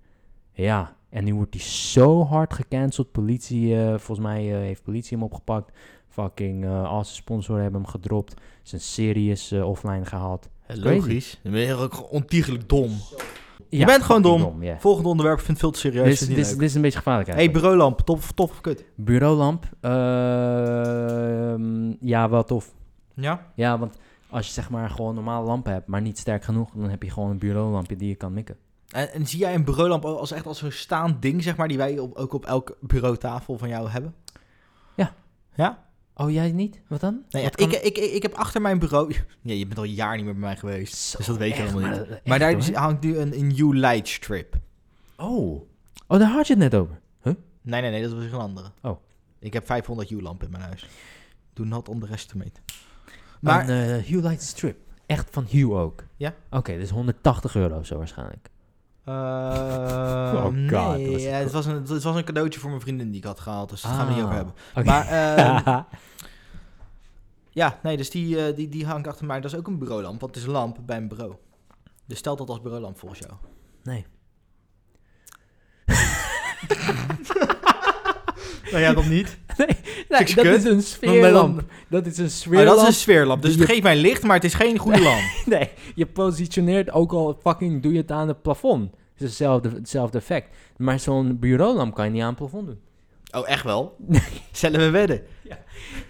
Speaker 2: Ja, en nu wordt hij zo hard gecanceld. Politie, eh, volgens mij eh, heeft politie hem opgepakt. Fucking, eh al zijn sponsoren hebben hem gedropt. Zijn series eh, offline gehaald.
Speaker 1: Logisch. Dan ben je ook gewoon ontiegelijk dom.
Speaker 2: Ja,
Speaker 1: bent gewoon
Speaker 2: fucking
Speaker 1: dom.
Speaker 2: ja.
Speaker 1: Volgende onderwerp vindt veel te serieus.
Speaker 2: Dit is,
Speaker 1: vindt hij
Speaker 2: dit, is,
Speaker 1: leuk.
Speaker 2: dit is een beetje gevaarlijk
Speaker 1: hey,
Speaker 2: eigenlijk.
Speaker 1: bureaulamp. Tof, tof of kut?
Speaker 2: Bureaulamp. ehm, ja, wel tof.
Speaker 1: Ja?
Speaker 2: Ja, want als je zeg maar gewoon normale lampen hebt, maar niet sterk genoeg, dan heb je gewoon een bureaulampje die je kan mikken.
Speaker 1: En, en zie jij een bureaulamp als echt als een staand ding, zeg maar, die wij op, ook op elke bureautafel van jou hebben?
Speaker 2: Ja.
Speaker 1: Ja?
Speaker 2: Oh, jij niet? Wat dan?
Speaker 1: Nee,
Speaker 2: Wat
Speaker 1: ik,
Speaker 2: kan-
Speaker 1: ik, ik, ik heb achter mijn bureau... Ja, je bent al een jaar niet meer bij mij geweest,
Speaker 2: Zo,
Speaker 1: dus dat weet je
Speaker 2: echt,
Speaker 1: helemaal niet.
Speaker 2: Maar, eh,
Speaker 1: Maar daar
Speaker 2: echt, hoor.
Speaker 1: hangt nu een, een U-lightstrip.
Speaker 2: Oh. Oh, daar had je het net over.
Speaker 1: Nee, nee, nee, dat was een andere.
Speaker 2: Oh.
Speaker 1: Ik heb 500 U-lampen in mijn huis. Do not underestimate. Maar
Speaker 2: Een eh, Hue Light Strip. Echt van Hue ook.
Speaker 1: Ja.
Speaker 2: Oké, dus 180 euro zo waarschijnlijk.
Speaker 1: Eh,
Speaker 2: Oh god, dat
Speaker 1: nee,
Speaker 2: was-
Speaker 1: ja, het, was een, het was een cadeautje voor mijn vriendin die ik had gehaald, dus dat gaan we niet
Speaker 2: Ah,
Speaker 1: over hebben.
Speaker 2: oké.
Speaker 1: Maar eh, ja, nee, dus die, eh, die, die hangt achter mij. Dat is ook een bureaulamp, want het is een lamp bij een bureau. Dus stelt dat als bureaulamp volgens jou?
Speaker 2: nee.
Speaker 1: Nou ja, dan niet.
Speaker 2: Nee,
Speaker 1: Niks
Speaker 2: dat
Speaker 1: kut.
Speaker 2: is een sfeerlamp. Dat is een sfeerlamp.
Speaker 1: Ah, dat is een sfeerlamp, dus
Speaker 2: Die
Speaker 1: het geeft mij licht, maar het is geen goede lamp.
Speaker 2: Nee, je positioneert ook al fucking doe je het aan het plafond. Het is hetzelfde, hetzelfde effect. Maar zo'n bureaulamp kan je niet aan het plafond doen.
Speaker 1: Oh, echt wel? Zullen we wedden?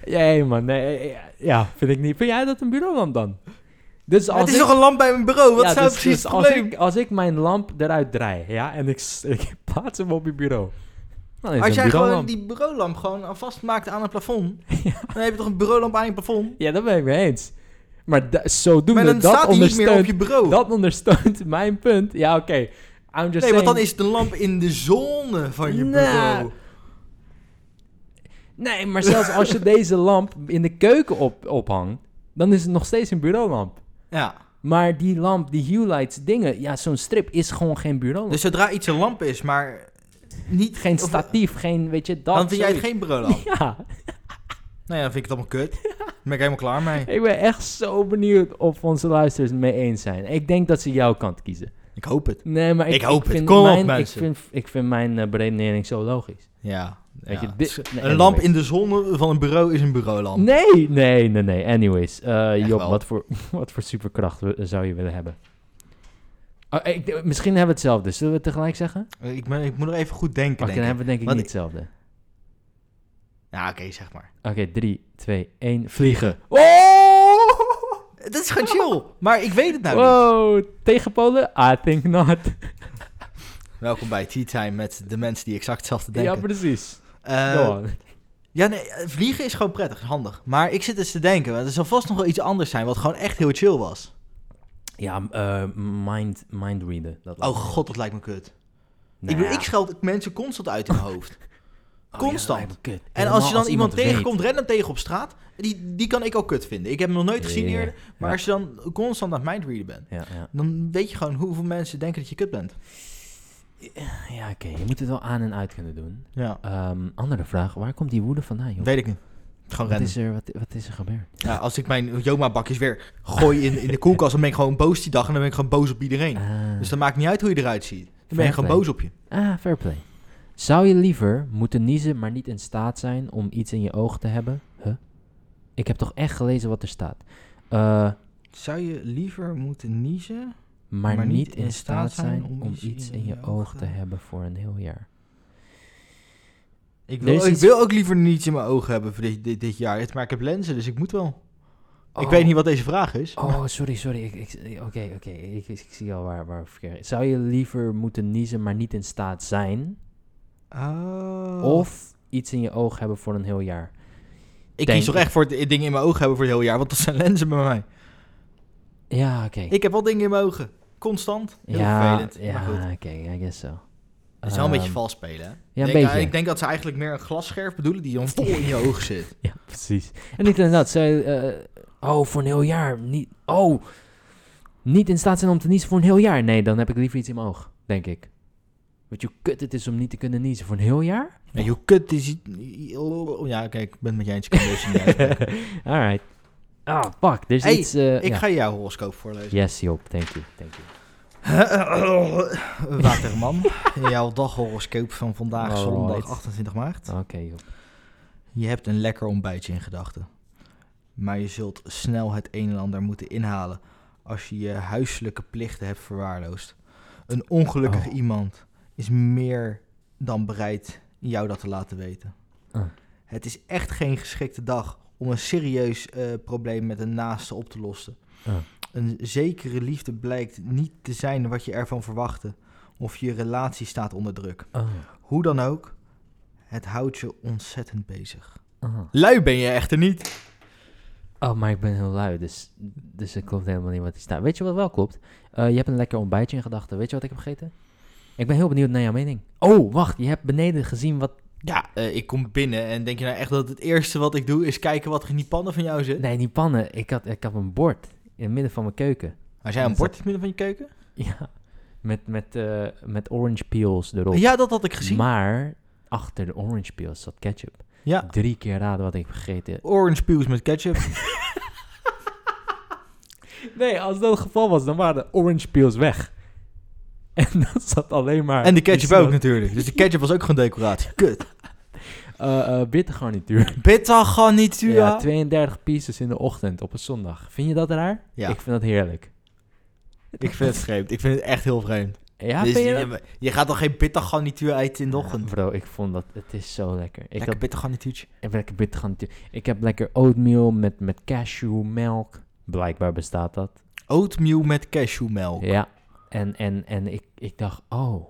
Speaker 2: Nee man, nee, eh, ja, ja, vind ik niet. Vind jij dat een bureaulamp dan? Dus als
Speaker 1: het is
Speaker 2: ik,
Speaker 1: toch een lamp bij mijn bureau? Wat
Speaker 2: ja,
Speaker 1: zou
Speaker 2: dus-
Speaker 1: precies
Speaker 2: dus
Speaker 1: het
Speaker 2: als
Speaker 1: probleem?
Speaker 2: ik, als ik mijn lamp eruit draai, ja, en ik, s- ik plaats hem op je bureau. Dan is het
Speaker 1: Als
Speaker 2: een
Speaker 1: jij gewoon
Speaker 2: bureaulamp.
Speaker 1: die bureaulamp gewoon al vastmaakt aan een plafond, dan heb je toch een bureaulamp aan je plafond?
Speaker 2: Ja, dat ben ik mee eens. Maar da- zodoende,
Speaker 1: Maar dan
Speaker 2: dat
Speaker 1: staat die niet meer op
Speaker 2: ondersteunt,
Speaker 1: je bureau.
Speaker 2: dat ondersteunt mijn punt. Ja, oké. I'm just
Speaker 1: Nee, want dan
Speaker 2: saying-
Speaker 1: is de lamp in de zone van je
Speaker 2: Nou,
Speaker 1: bureau.
Speaker 2: Nee, maar zelfs als je deze lamp in de keuken op, ophangt, dan is het nog steeds een bureaulamp.
Speaker 1: Ja.
Speaker 2: Maar die lamp, die Hue Lights dingen, ja, zo'n strip is gewoon geen bureaulamp.
Speaker 1: Dus zodra iets een lamp is, maar niet...
Speaker 2: geen
Speaker 1: of-
Speaker 2: statief, geen, weet je, dat.
Speaker 1: Dan vind jij het
Speaker 2: zoiets.
Speaker 1: geen bureaulamp.
Speaker 2: Ja,
Speaker 1: Nee, dan vind ik het allemaal kut. Daar ben ik helemaal klaar mee.
Speaker 2: ik ben echt zo benieuwd of onze luisteraars het mee eens zijn. Ik denk dat ze jouw kant kiezen.
Speaker 1: Ik hoop het.
Speaker 2: Nee, maar ik,
Speaker 1: Ik hoop het.
Speaker 2: vind
Speaker 1: Kom op,
Speaker 2: mijn, ik
Speaker 1: mensen.
Speaker 2: vind, ik vind mijn eh, beredenering zo logisch.
Speaker 1: Ja. ja.
Speaker 2: Weet je, dit- nee,
Speaker 1: een lamp
Speaker 2: anyways.
Speaker 1: in de zon van een bureau is een bureaulamp.
Speaker 2: Nee, nee, nee, nee. Anyways, eh,
Speaker 1: Echt
Speaker 2: Job,
Speaker 1: wel.
Speaker 2: wat voor, wat voor superkracht we- zou je willen hebben? Oh, ik, misschien hebben we hetzelfde. Zullen we het tegelijk zeggen? Oké,
Speaker 1: Ik, ben, ik moet nog even goed denken,
Speaker 2: dan
Speaker 1: denk ik.
Speaker 2: hebben we denk ik
Speaker 1: Want
Speaker 2: niet hetzelfde.
Speaker 1: Ja, oké, zeg maar.
Speaker 2: Oké, 3, 2, 1, vliegen. Oh!
Speaker 1: Dat is gewoon chill. Maar ik weet het nou niet.
Speaker 2: Wow, tegen Polen? I think not.
Speaker 1: Welkom bij Tea Time met de mensen die exact hetzelfde
Speaker 2: Ja,
Speaker 1: denken.
Speaker 2: precies.
Speaker 1: Eh,
Speaker 2: Go on.
Speaker 1: ja, nee, eh, vliegen is gewoon prettig, handig. Maar ik zit eens te denken, want er zal vast nog wel iets anders zijn wat gewoon echt heel chill was.
Speaker 2: Ja, eh, mind, mind readen. Dat
Speaker 1: Oh god, dat lijkt me kut.
Speaker 2: Nou
Speaker 1: Ik, bedoel,
Speaker 2: ja.
Speaker 1: ik scheld mensen constant uit in mijn hoofd.
Speaker 2: Oh,
Speaker 1: constant.
Speaker 2: ja, dat lijkt me kut.
Speaker 1: En
Speaker 2: Helemaal
Speaker 1: als je dan iemand
Speaker 2: weet-
Speaker 1: tegenkomt, random tegen op straat, die, die kan ik ook kut vinden. Ik heb hem nog nooit gezien
Speaker 2: Ja,
Speaker 1: eerder, maar
Speaker 2: ja.
Speaker 1: als je dan constant aan het mindreaden bent,
Speaker 2: Ja, ja.
Speaker 1: dan weet je gewoon hoeveel mensen denken dat je kut bent.
Speaker 2: ja oké. Je moet het wel aan en uit kunnen doen.
Speaker 1: Ja,
Speaker 2: Ehm, andere vraag. Waar komt die woede vandaan, joh?
Speaker 1: weet ik niet. Gewoon
Speaker 2: Wat
Speaker 1: random.
Speaker 2: is, er, wat, wat is er gebeurd?
Speaker 1: Ja, als ik mijn Joma-bakjes weer gooi in, in de koelkast, dan ben ik gewoon boos die dag en dan ben ik gewoon boos op iedereen.
Speaker 2: Ah,
Speaker 1: Dus dan maakt niet uit hoe je eruit ziet. Dan ben je
Speaker 2: Fair
Speaker 1: gewoon
Speaker 2: play.
Speaker 1: boos op je.
Speaker 2: ah, fair play. Zou je liever moeten niezen, maar niet in staat zijn om iets in je oog te hebben? Huh? Ik heb toch echt gelezen wat er staat. Eh,
Speaker 1: Zou je liever moeten niezen?
Speaker 2: maar, niet in staat zijn om iets in je oog te hebben voor een heel jaar.
Speaker 1: Ik
Speaker 2: Er
Speaker 1: wil,
Speaker 2: is
Speaker 1: ik
Speaker 2: iets-
Speaker 1: wil ook liever niets in mijn ogen hebben voor dit, dit, dit jaar. Maar ik heb lenzen, dus ik moet wel. Ik weet niet wat deze vraag is.
Speaker 2: Oh, sorry, sorry. Ik- ik- Oké, oké. Ik, ik zie al waar, waar verkeerd. Zou je liever moeten niezen, maar niet in staat zijn?
Speaker 1: Oh.
Speaker 2: Of iets in je oog hebben voor een heel jaar?
Speaker 1: ik
Speaker 2: denk
Speaker 1: kies toch
Speaker 2: ik.
Speaker 1: echt voor het ding in mijn ogen hebben voor het hele jaar, want dat zijn lenzen bij mij.
Speaker 2: Ja, oké.
Speaker 1: Ik heb wel dingen in mijn ogen. Constant. Heel
Speaker 2: Ja,
Speaker 1: vervelend. maar
Speaker 2: ja
Speaker 1: goed.
Speaker 2: oké. I guess so.
Speaker 1: Het is wel een beetje
Speaker 2: Ehm,
Speaker 1: vals spelen, hè?
Speaker 2: Ja, een
Speaker 1: Ik denk-
Speaker 2: beetje.
Speaker 1: Ik denk dat ze eigenlijk meer een glasscherf bedoelen die dan vol in je ogen zit.
Speaker 2: Ja, precies. En niet alleen dat. Zij, oh, voor een heel jaar. Niet, oh, niet in staat zijn om te niezen voor een heel jaar. Nee, dan heb ik liever iets in mijn oog, denk ik. Weet je hoe kut het is om niet te kunnen niezen voor een heel jaar?
Speaker 1: En hoe kut is het? Ja, kijk, ik ben het met je eens. Ik kan deze niet uitspreken.
Speaker 2: Alright. Ah, fuck. Er is
Speaker 1: Hey,
Speaker 2: iets... eh,
Speaker 1: Ik
Speaker 2: ja.
Speaker 1: ga jouw horoscoop voorlezen.
Speaker 2: Yes, Job. Thank you. Thank you.
Speaker 1: Waterman, jouw daghoroscoop van vandaag,
Speaker 2: Alright.
Speaker 1: zondag 28 maart.
Speaker 2: Oké, Job.
Speaker 1: Je hebt een lekker ontbijtje in gedachten. Maar je zult snel het een en ander moeten inhalen als je je huiselijke plichten hebt verwaarloosd. Een ongelukkig
Speaker 2: Oh.
Speaker 1: iemand is meer dan bereid jou dat te laten weten.
Speaker 2: Ah.
Speaker 1: Het is echt geen geschikte dag om een serieus eh, probleem met een naaste op te lossen.
Speaker 2: Ah.
Speaker 1: Een zekere liefde blijkt niet te zijn wat je ervan verwachtte, of je relatie staat onder druk.
Speaker 2: Oh.
Speaker 1: Hoe dan ook, het houdt je ontzettend bezig.
Speaker 2: Oh.
Speaker 1: Lui ben je echter niet.
Speaker 2: Oh, maar ik ben heel lui, dus, dus het klopt helemaal niet wat hier staat. Weet je wat wel klopt? Eh, je hebt een lekker ontbijtje in gedachten. Weet je wat ik heb gegeten? Ik ben heel benieuwd naar jouw mening. Oh, wacht. Je hebt beneden gezien wat...
Speaker 1: Ja, eh, ik kom binnen en denk je nou echt dat het eerste wat ik doe is kijken wat er in die pannen van jou zit?
Speaker 2: Nee, niet pannen. Ik had, ik had een bord in het midden van mijn keuken.
Speaker 1: Maar jij een bord in het midden van je keuken?
Speaker 2: Ja, met, met, eh, met orange peels erop.
Speaker 1: Ja, dat had ik gezien.
Speaker 2: Maar achter de orange peels zat ketchup.
Speaker 1: Ja,
Speaker 2: Drie keer raden wat ik heb gegeten.
Speaker 1: orange peels met ketchup.
Speaker 2: Nee, als dat het geval was, dan waren de orange peels weg. En dan zat alleen maar...
Speaker 1: en de ketchup ook natuurlijk. Dus de ketchup was ook gewoon decoratie. Kut.
Speaker 2: Uh, bittergarnituur.
Speaker 1: Bitter garnituur.
Speaker 2: Ja, 32 pieces in de ochtend op een zondag. Vind je dat raar?
Speaker 1: Ja.
Speaker 2: Ik vind dat heerlijk.
Speaker 1: ik vind het vreemd. Ik vind het echt heel vreemd.
Speaker 2: Ja,
Speaker 1: Dus
Speaker 2: vind je dat?
Speaker 1: je, je gaat toch geen bitter garnituur eten in de
Speaker 2: Ja,
Speaker 1: ochtend?
Speaker 2: Bro, ik vond dat... Het is zo lekker. Ik
Speaker 1: Lekker
Speaker 2: heb
Speaker 1: bitter garnituurtje.
Speaker 2: heb lekker bittergarnituur. Ik heb lekker oatmeal met, met cashewmelk. Blijkbaar bestaat dat.
Speaker 1: Oatmeal met cashewmelk.
Speaker 2: Ja. En, en, en ik, ik dacht, oh...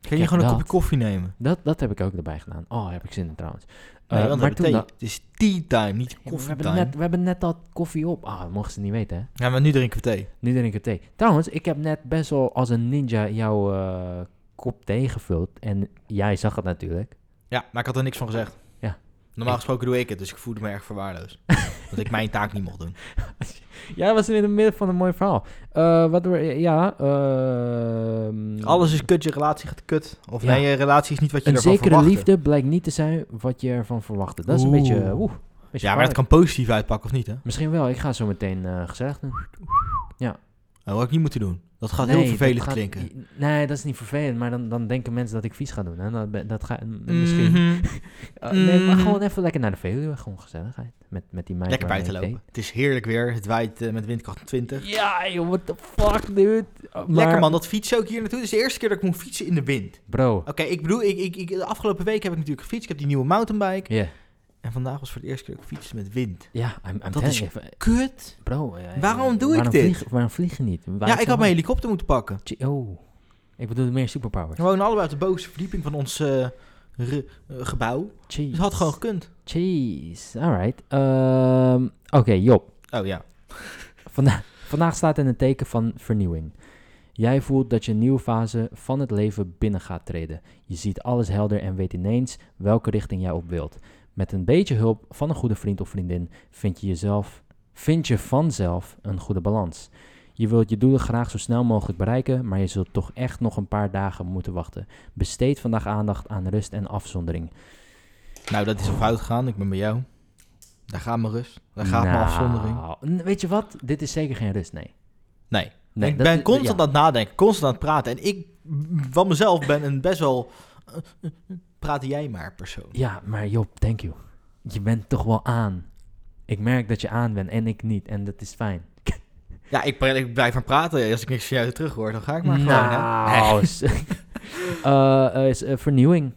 Speaker 1: Kun je
Speaker 2: heb
Speaker 1: gewoon een
Speaker 2: dat.
Speaker 1: kopje koffie nemen?
Speaker 2: Dat, dat heb ik ook erbij gedaan. Oh, heb ik zin in trouwens.
Speaker 1: Nee,
Speaker 2: Eh,
Speaker 1: want
Speaker 2: maar
Speaker 1: we
Speaker 2: toen
Speaker 1: hebben
Speaker 2: dan,
Speaker 1: thee. Het is tea time, niet
Speaker 2: we,
Speaker 1: coffee
Speaker 2: hebben
Speaker 1: time.
Speaker 2: net, we hebben net al koffie op. Ah, dat mochten ze niet weten, hè?
Speaker 1: Ja, maar nu drinken we thee.
Speaker 2: Nu drink ik thee. Trouwens, ik heb net best wel als een ninja jouw eh, kop thee gevuld. En jij zag het natuurlijk.
Speaker 1: Ja, maar ik had er niks van gezegd.
Speaker 2: Ja.
Speaker 1: Normaal
Speaker 2: Ik-
Speaker 1: gesproken doe ik het, dus ik voelde me erg verwaarloosd. dat ik mijn taak niet mocht doen.
Speaker 2: Jij was in het midden van een mooi verhaal. Eh, wat we, ja, ehm,
Speaker 1: Alles is kut, je relatie gaat kut. Of
Speaker 2: Ja.
Speaker 1: nee, je relatie is niet wat je
Speaker 2: Een
Speaker 1: ervan
Speaker 2: zekere
Speaker 1: verwachtte.
Speaker 2: liefde blijkt niet te zijn wat je ervan verwachtte. Dat is een
Speaker 1: Oeh.
Speaker 2: beetje... Oeh, een beetje
Speaker 1: Ja, maar dat
Speaker 2: gevaarlijk.
Speaker 1: kan positief uitpakken of niet, hè?
Speaker 2: Misschien wel. Ik ga zo meteen eh, gezellig doen.
Speaker 1: Dat had ik niet moeten doen. Dat gaat
Speaker 2: Nee,
Speaker 1: heel vervelend
Speaker 2: dat gaat-
Speaker 1: klinken.
Speaker 2: Nee, dat is niet vervelend. Maar dan, dan denken mensen dat ik vies ga doen. En dat, be- dat ga, m- misschien...
Speaker 1: Mhm.
Speaker 2: Eh, nee, maar
Speaker 1: Mhm.
Speaker 2: gewoon even lekker naar de Veluwe. Gewoon gezelligheid. Met, met die meid
Speaker 1: Lekker
Speaker 2: waarmee
Speaker 1: buiten
Speaker 2: ik date.
Speaker 1: lopen. Het is heerlijk weer. Het waait eh, met windkracht 20.
Speaker 2: Ja, joh, what the fuck, dude. Maar,
Speaker 1: Lekker man, dat fietsen ook hier naartoe. Het is de eerste keer dat ik moet fietsen in de wind.
Speaker 2: Bro,
Speaker 1: Oké, ik bedoel, ik, ik, ik, de afgelopen week heb ik natuurlijk gefietst. Ik heb die nieuwe mountainbike.
Speaker 2: ja.
Speaker 1: En En vandaag was voor de eerste keer ook fietsen met wind.
Speaker 2: Ja, I'm, I'm
Speaker 1: Dat
Speaker 2: telling
Speaker 1: is
Speaker 2: you, eh,
Speaker 1: Kut!
Speaker 2: Bro, eh,
Speaker 1: Waarom doe ik
Speaker 2: waarom
Speaker 1: dit?
Speaker 2: Vliegen, waarom vliegen niet? Waarom
Speaker 1: Ja, ik had
Speaker 2: zo
Speaker 1: mijn helikopter moeten pakken.
Speaker 2: hard? Oh, ik bedoel meer superpowers.
Speaker 1: We wonen allebei op de bovenste verdieping van ons eh, re- eh, gebouw. Dus
Speaker 2: Jeez.
Speaker 1: het had gewoon gekund.
Speaker 2: Jeez, alright. Ehm, Oké, Job.
Speaker 1: Oh ja.
Speaker 2: Vanda- vandaag staat in het teken van vernieuwing. Jij voelt dat je een nieuwe fase van het leven binnen gaat treden. Je ziet alles helder en weet ineens welke richting jij op wilt. Met een beetje hulp van een goede vriend of vriendin vind je, jezelf, vind je vanzelf een goede balans. Je wilt je doelen graag zo snel mogelijk bereiken, maar je zult toch echt nog een paar dagen moeten wachten. Besteed vandaag aandacht aan rust en afzondering.
Speaker 1: Nou, dat is al fout gegaan. Ik ben bij jou. Daar gaat mijn rust. Daar gaat mijn afzondering.
Speaker 2: Nou, n- Weet je wat? Dit is zeker geen rust, nee.
Speaker 1: Nee.
Speaker 2: nee
Speaker 1: ik
Speaker 2: dat-
Speaker 1: ben
Speaker 2: dat-
Speaker 1: constant
Speaker 2: ja.
Speaker 1: aan het nadenken, constant aan het praten. En ik, m, van mezelf, ben een best wel. eh, praat jij maar persoon.
Speaker 2: Ja, maar Job, thank you. Je bent toch wel aan. Ik merk dat je aan bent en ik niet. En dat is fijn.
Speaker 1: Ja, ik, pr- ik blijf maar praten. Als ik niks van jou terug hoor, dan ga ik maar gewoon. Hè?
Speaker 2: nou, s- Eh, eh, is, eh, vernieuwing.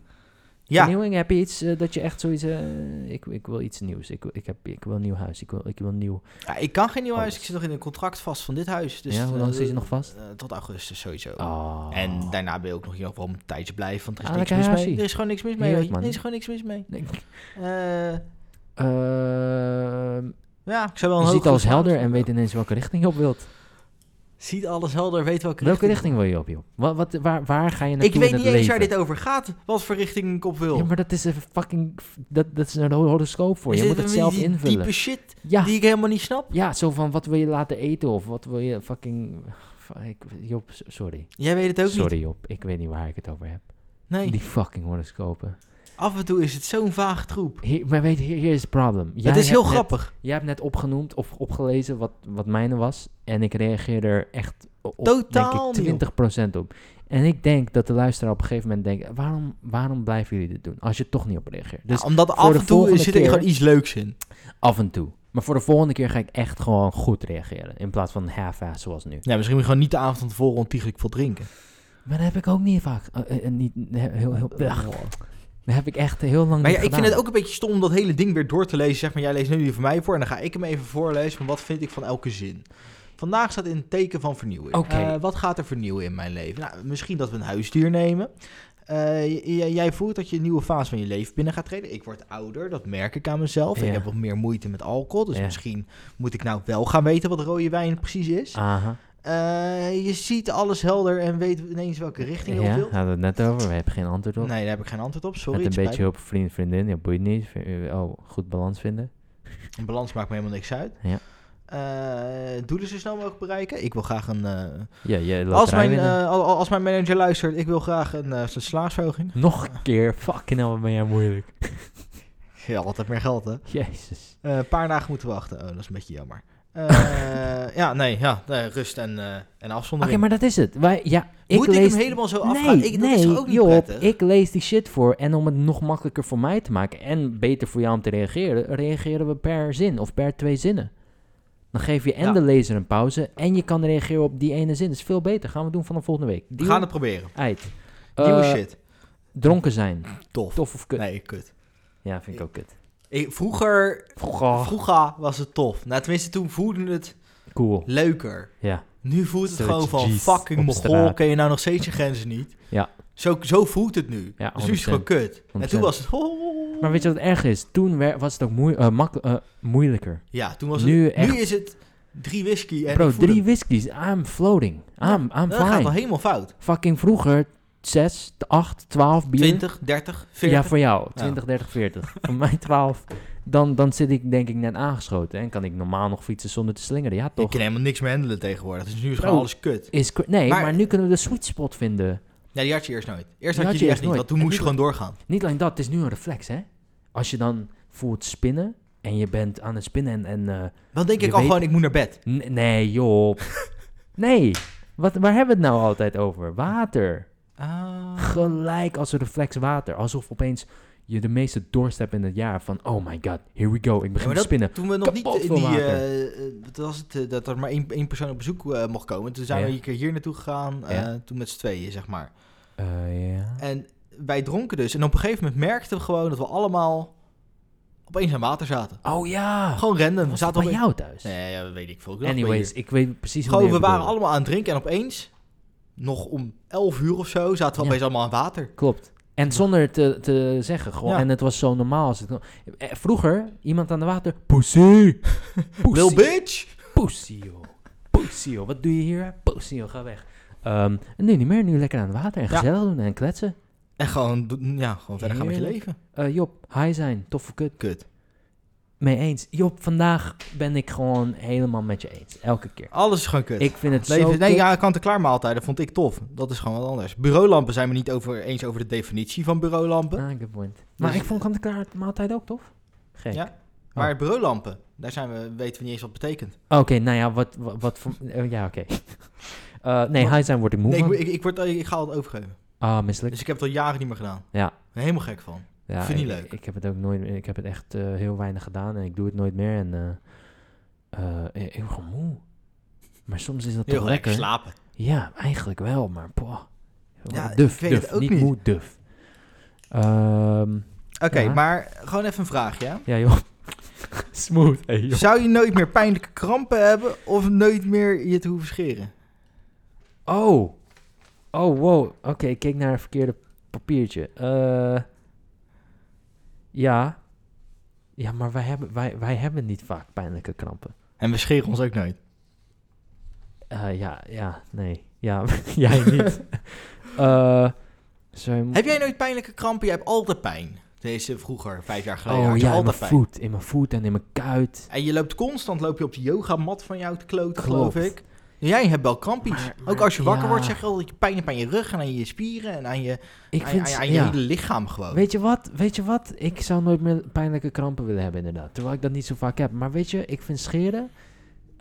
Speaker 1: Ja,
Speaker 2: Vernieuwing, heb je iets eh, dat je echt zoiets... eh, ik, ik wil iets nieuws. Ik, wil- ik, heb, ik wil een nieuw huis. Ik wil, ik wil een nieuw...
Speaker 1: ja, ik kan geen nieuw huis.
Speaker 2: Alles.
Speaker 1: Ik zit nog in een contract vast van dit huis. Dus,
Speaker 2: Oh. ja, hoe lang
Speaker 1: eh,
Speaker 2: zit je nog vast?
Speaker 1: eh, tot augustus sowieso.
Speaker 2: Oh.
Speaker 1: En daarna ben ik ook nog hier nog wel een tijdje blijven, want er is
Speaker 2: Ah,
Speaker 1: niks mis
Speaker 2: lekker
Speaker 1: mee.
Speaker 2: hasie.
Speaker 1: Er is gewoon niks mis mee.
Speaker 2: Heerlijk,
Speaker 1: weet je.
Speaker 2: man.
Speaker 1: Er is gewoon niks mis mee.
Speaker 2: Nee.
Speaker 1: Eh,
Speaker 2: Ehm,
Speaker 1: ja, ik zou wel een
Speaker 2: je ziet
Speaker 1: hogere
Speaker 2: alles
Speaker 1: salaris
Speaker 2: helder en
Speaker 1: willen.
Speaker 2: weet ineens welke richting je op wilt.
Speaker 1: Ziet alles helder, weet welke,
Speaker 2: Welke richting wil je op, joh? Wat, wat, waar, waar ga je naartoe
Speaker 1: Ik weet
Speaker 2: in het
Speaker 1: niet eens waar
Speaker 2: leven?
Speaker 1: dit over gaat, wat voor richting ik op wil.
Speaker 2: Ja, maar dat is een fucking... Dat, dat is een ho- horoscoop voor je.
Speaker 1: Is
Speaker 2: Je moet
Speaker 1: dit
Speaker 2: het
Speaker 1: een-
Speaker 2: zelf
Speaker 1: die
Speaker 2: invullen.
Speaker 1: diepe shit
Speaker 2: Ja,
Speaker 1: die ik helemaal niet snap?
Speaker 2: ja, zo van wat wil je laten eten of wat wil je fucking... fa- Ik, Job, s- sorry.
Speaker 1: Jij weet het ook niet.
Speaker 2: Sorry Job, ik weet niet waar ik het over heb.
Speaker 1: Nee,
Speaker 2: Die fucking horoscopen.
Speaker 1: af en toe is het zo'n vaag troep.
Speaker 2: Hier, maar weet, hier, hier is het probleem. Jij
Speaker 1: het is heel
Speaker 2: hebt net-
Speaker 1: grappig.
Speaker 2: jij hebt net opgenoemd of opgelezen wat, wat mijne was. En ik reageer er echt op,
Speaker 1: Totaal niet op.
Speaker 2: denk ik, 20% op. En ik denk dat de luisteraar op een gegeven moment denkt... Waarom, waarom blijven jullie dit doen als je er toch niet op reageert? Dus
Speaker 1: Ja, omdat
Speaker 2: voor
Speaker 1: af
Speaker 2: de
Speaker 1: en toe
Speaker 2: volgende
Speaker 1: zit er
Speaker 2: keer-
Speaker 1: gewoon iets leuks in.
Speaker 2: Af en toe. Maar voor de volgende keer ga ik echt gewoon goed reageren. In plaats van half-ass zoals nu.
Speaker 1: Ja, misschien moet je gewoon niet de avond van tevoren ontiegelijk veel drinken.
Speaker 2: Maar dat heb ik ook niet vaak. eh, eh, eh, niet, heel, heel, ach, dat heb ik echt eh, heel lang
Speaker 1: eh, Maar ja,
Speaker 2: niet
Speaker 1: ik vind
Speaker 2: gedaan.
Speaker 1: het ook een beetje stom om dat hele ding weer door te lezen. Zeg maar, jij leest nu die van mij voor en dan ga ik hem even voorlezen. van wat vind ik van elke zin? Vandaag staat in het teken van vernieuwing.
Speaker 2: Oké.
Speaker 1: Eh, wat gaat er vernieuwen in mijn leven? Nou, misschien dat we een huisdier nemen. Eh, j- j- jij voelt dat je een nieuwe fase van je leven binnen gaat treden. Ik word ouder, dat merk ik aan mezelf.
Speaker 2: Ja.
Speaker 1: Ik heb wat meer moeite met alcohol. Dus
Speaker 2: Ja.
Speaker 1: misschien moet ik nou wel gaan weten wat rode wijn precies is.
Speaker 2: Aha.
Speaker 1: Eh, je ziet alles helder en weet ineens welke richting je
Speaker 2: Ja,
Speaker 1: op
Speaker 2: we
Speaker 1: wilt.
Speaker 2: hadden het net over. We hebben geen antwoord op.
Speaker 1: Nee, daar heb ik geen antwoord op. Sorry. het
Speaker 2: Met een
Speaker 1: spijt
Speaker 2: beetje hulp, vriend, vriendin. Ja, boeit niet. Vind- eh, Oh, goed balans vinden.
Speaker 1: Een balans maakt me helemaal niks uit.
Speaker 2: Ja.
Speaker 1: Eh, doelen zo snel mogelijk bereiken. Ik wil graag een. eh,
Speaker 2: Ja, je
Speaker 1: als,
Speaker 2: loterij
Speaker 1: mijn,
Speaker 2: winnen.
Speaker 1: eh, al- al- als mijn manager luistert, ik wil graag een uh, slaagverhoging.
Speaker 2: Nog een keer. Fucking hell, wat ben jij moeilijk.
Speaker 1: Ja, altijd meer geld, hè?
Speaker 2: Jezus.
Speaker 1: Eh, Een paar dagen moeten wachten. Oh, dat is een beetje jammer. Eh, ja, nee, ja, nee, rust en, eh, en
Speaker 2: Oké,
Speaker 1: afzondering.
Speaker 2: maar dat is het. Wij, ja, ik
Speaker 1: Moet
Speaker 2: lees...
Speaker 1: ik hem helemaal zo afgaan? ik, dat is toch ook niet
Speaker 2: joh,
Speaker 1: prettig?
Speaker 2: ik lees die shit voor. En om het nog makkelijker voor mij te maken en beter voor jou om te reageren, reageren we per zin of per twee zinnen. Dan geef je en
Speaker 1: Ja.
Speaker 2: de lezer een pauze en je kan reageren op die ene zin. Dat is veel beter. Gaan we doen vanaf volgende week.
Speaker 1: We
Speaker 2: Deal?
Speaker 1: gaan het proberen.
Speaker 2: Uit.
Speaker 1: Nieuwe
Speaker 2: Eh,
Speaker 1: shit.
Speaker 2: Dronken zijn.
Speaker 1: Tof.
Speaker 2: Tof of kut?
Speaker 1: Nee, kut.
Speaker 2: Ja, vind ik ook kut.
Speaker 1: Ik, vroeger,
Speaker 2: Oh.
Speaker 1: vroeger was het tof. Nou, tenminste, toen voelde het
Speaker 2: Cool.
Speaker 1: leuker.
Speaker 2: Ja.
Speaker 1: Nu voelt het
Speaker 2: Zoiets
Speaker 1: gewoon van
Speaker 2: G's
Speaker 1: fucking
Speaker 2: op
Speaker 1: mogol,
Speaker 2: straat.
Speaker 1: ken je nou nog steeds je grenzen niet?
Speaker 2: Ja.
Speaker 1: Zo, zo voelt het nu.
Speaker 2: Ja,
Speaker 1: dus nu is het
Speaker 2: 100%.
Speaker 1: gewoon kut. En toen
Speaker 2: 100%.
Speaker 1: was het... oh.
Speaker 2: Maar weet je wat erg is? Toen wer- was het ook moe- eh, makkel- eh, moeilijker.
Speaker 1: Ja, toen was het...
Speaker 2: nu
Speaker 1: Nu,
Speaker 2: echt-
Speaker 1: is het drie whisky en
Speaker 2: Bro,
Speaker 1: ik voel
Speaker 2: drie
Speaker 1: hem.
Speaker 2: whiskies. I'm floating.
Speaker 1: Ja,
Speaker 2: I'm, I'm
Speaker 1: Dat gaat wel
Speaker 2: fine.
Speaker 1: helemaal fout.
Speaker 2: Fucking vroeger 6, 8, 12 bier.
Speaker 1: 20, 30, 40.
Speaker 2: Ja, voor jou.
Speaker 1: Ja.
Speaker 2: 20, 30, 40. voor mij 12. Dan, dan zit ik denk ik net aangeschoten. En kan ik normaal nog fietsen zonder te slingeren. Ja,
Speaker 1: ik
Speaker 2: toch?
Speaker 1: kan helemaal niks meer handelen tegenwoordig. Dus nu is gewoon
Speaker 2: Bro.
Speaker 1: alles kut.
Speaker 2: Is, cr- nee,
Speaker 1: Maar-
Speaker 2: maar, nu kunnen we de sweet spot vinden.
Speaker 1: Ja, die had je eerst nooit. Eerst
Speaker 2: Die
Speaker 1: had
Speaker 2: had
Speaker 1: je
Speaker 2: je
Speaker 1: die echt niet,
Speaker 2: eerst nooit.
Speaker 1: want toen
Speaker 2: En
Speaker 1: moest je
Speaker 2: nu
Speaker 1: gewoon doorgaan.
Speaker 2: Niet alleen dat, het is nu een reflex, hè? Als je dan voelt spinnen en je bent aan het spinnen en... en eh,
Speaker 1: Dan denk
Speaker 2: Je
Speaker 1: ik al
Speaker 2: weet-
Speaker 1: gewoon, ik moet naar bed.
Speaker 2: N- nee, joh. nee. Wat, waar hebben we het nou altijd over? Water. Ah. Gelijk als een reflex water. Alsof opeens je de meeste dorst hebt in het jaar. Van, oh my god, here we go. Ik
Speaker 1: Ja,
Speaker 2: begin
Speaker 1: maar
Speaker 2: te
Speaker 1: dat-
Speaker 2: spinnen.
Speaker 1: Toen we nog niet
Speaker 2: Kapot
Speaker 1: in
Speaker 2: veel
Speaker 1: die...
Speaker 2: water.
Speaker 1: eh, eh, wat was het, eh, dat er maar één, één persoon op bezoek eh, mocht komen. Toen zijn
Speaker 2: Ja.
Speaker 1: we een keer hier naartoe gegaan. eh,
Speaker 2: Ja.
Speaker 1: Toen met z'n tweeën, zeg maar.
Speaker 2: Eh, ja.
Speaker 1: En wij dronken dus. En op een gegeven moment merkten we gewoon dat we allemaal opeens aan water zaten.
Speaker 2: Oh ja!
Speaker 1: Gewoon random. We
Speaker 2: was dat
Speaker 1: zaten
Speaker 2: bij
Speaker 1: opeens-
Speaker 2: jou thuis?
Speaker 1: Nee, ja, weet ik veel. Ik dacht bij
Speaker 2: Anyways,
Speaker 1: je.
Speaker 2: ik weet precies hoe
Speaker 1: Gewoon, we waren allemaal aan het drinken en opeens, nog om 11 uur of zo, zaten we
Speaker 2: Ja.
Speaker 1: opeens allemaal aan water.
Speaker 2: Klopt. En zonder het te, te zeggen, gewoon.
Speaker 1: Ja.
Speaker 2: En het was zo normaal. Als het, eh, vroeger, iemand aan de water... Pussy! Pussy.
Speaker 1: Lil bitch!
Speaker 2: Pussy, joh. Pussy, joh. Wat doe je hier? hè? Pussy, joh. Ga weg. Ehm, en nu niet meer. Nu lekker aan het water en
Speaker 1: Ja.
Speaker 2: gezellig doen en kletsen.
Speaker 1: En gewoon, doen- ja, gewoon verder gaan met je
Speaker 2: Heerlijk.
Speaker 1: leven.
Speaker 2: Eh, Job, high zijn. Toffe kut.
Speaker 1: Kut.
Speaker 2: Mee eens. Job, vandaag ben ik gewoon helemaal met je eens. Elke keer.
Speaker 1: Alles is gewoon kut.
Speaker 2: Ik vind het zo
Speaker 1: Leven, nee,
Speaker 2: kut.
Speaker 1: ja, kant-en-klaar maaltijden vond ik tof. Dat is gewoon wat anders. Bureaulampen zijn we niet over, eens over de definitie van bureaulampen.
Speaker 2: Ah, good point. Maar
Speaker 1: Dus-
Speaker 2: ik vond kant-en-klaar maaltijd ook, tof? Gek.
Speaker 1: Ja. Maar bureaulampen, daar zijn we, weten we niet eens wat betekent.
Speaker 2: Oké, nou ja, wat, wat, wat voor... eh, ja, oké. Eh, nee,
Speaker 1: Wat-
Speaker 2: high zijn word ik moe
Speaker 1: Nee, ik,
Speaker 2: van.
Speaker 1: ik, ik, word, ik ga altijd overgeven.
Speaker 2: Ah, misselijk.
Speaker 1: Dus ik heb het al jaren niet meer gedaan.
Speaker 2: Ja.
Speaker 1: Ik ben Helemaal gek van.
Speaker 2: Ja,
Speaker 1: Vind je
Speaker 2: ik,
Speaker 1: leuk?
Speaker 2: Ik, heb het ook nooit meer. Ik heb het echt eh, heel weinig gedaan en ik doe het nooit meer. En eh, eh, ik ben gewoon moe. Maar soms is dat
Speaker 1: Heel
Speaker 2: toch
Speaker 1: gek
Speaker 2: lekker.
Speaker 1: slapen.
Speaker 2: Ja, eigenlijk wel, maar poh.
Speaker 1: Ja,
Speaker 2: duf,
Speaker 1: ik weet
Speaker 2: duf,
Speaker 1: het ook
Speaker 2: niet,
Speaker 1: niet.
Speaker 2: moe, duf. Ehm,
Speaker 1: Oké,
Speaker 2: Ja.
Speaker 1: maar gewoon even een vraagje. Hè?
Speaker 2: ja, joh. Smooth, hey, joh.
Speaker 1: Zou je nooit meer pijnlijke krampen hebben of nooit meer je te hoeven scheren?
Speaker 2: Oh. Oh, wow. Oké, ik keek naar een verkeerde papiertje. Eh, ja. Ja, maar wij hebben, wij, wij hebben niet vaak pijnlijke krampen.
Speaker 1: En we scheren ons ook nooit.
Speaker 2: Mm. Eh, ja, ja, nee. Ja, jij niet. Eh zou je mo-
Speaker 1: Heb jij nooit pijnlijke krampen? Jij hebt altijd pijn. Deze vroeger, vijf jaar geleden,
Speaker 2: oh
Speaker 1: had je
Speaker 2: ja, in mijn
Speaker 1: altijd pijn.
Speaker 2: voet. In mijn voet en in mijn kuit.
Speaker 1: En je loopt constant loop je op de yogamat van jou te kloten,
Speaker 2: Klopt.
Speaker 1: geloof ik. Jij hebt wel krampies.
Speaker 2: Maar- maar-
Speaker 1: ook als je wakker
Speaker 2: ja.
Speaker 1: wordt, zeg je al dat je pijn hebt aan je rug en aan je spieren en aan je,
Speaker 2: Ik
Speaker 1: aan,
Speaker 2: vind...
Speaker 1: aan-
Speaker 2: ze-
Speaker 1: aan je
Speaker 2: ja.
Speaker 1: hele lichaam gewoon.
Speaker 2: Oh. Weet je wat? Weet je wat? Ik zou nooit meer pijnlijke krampen willen hebben inderdaad. Terwijl ik dat niet zo vaak heb. Maar weet je, ik vind scheren...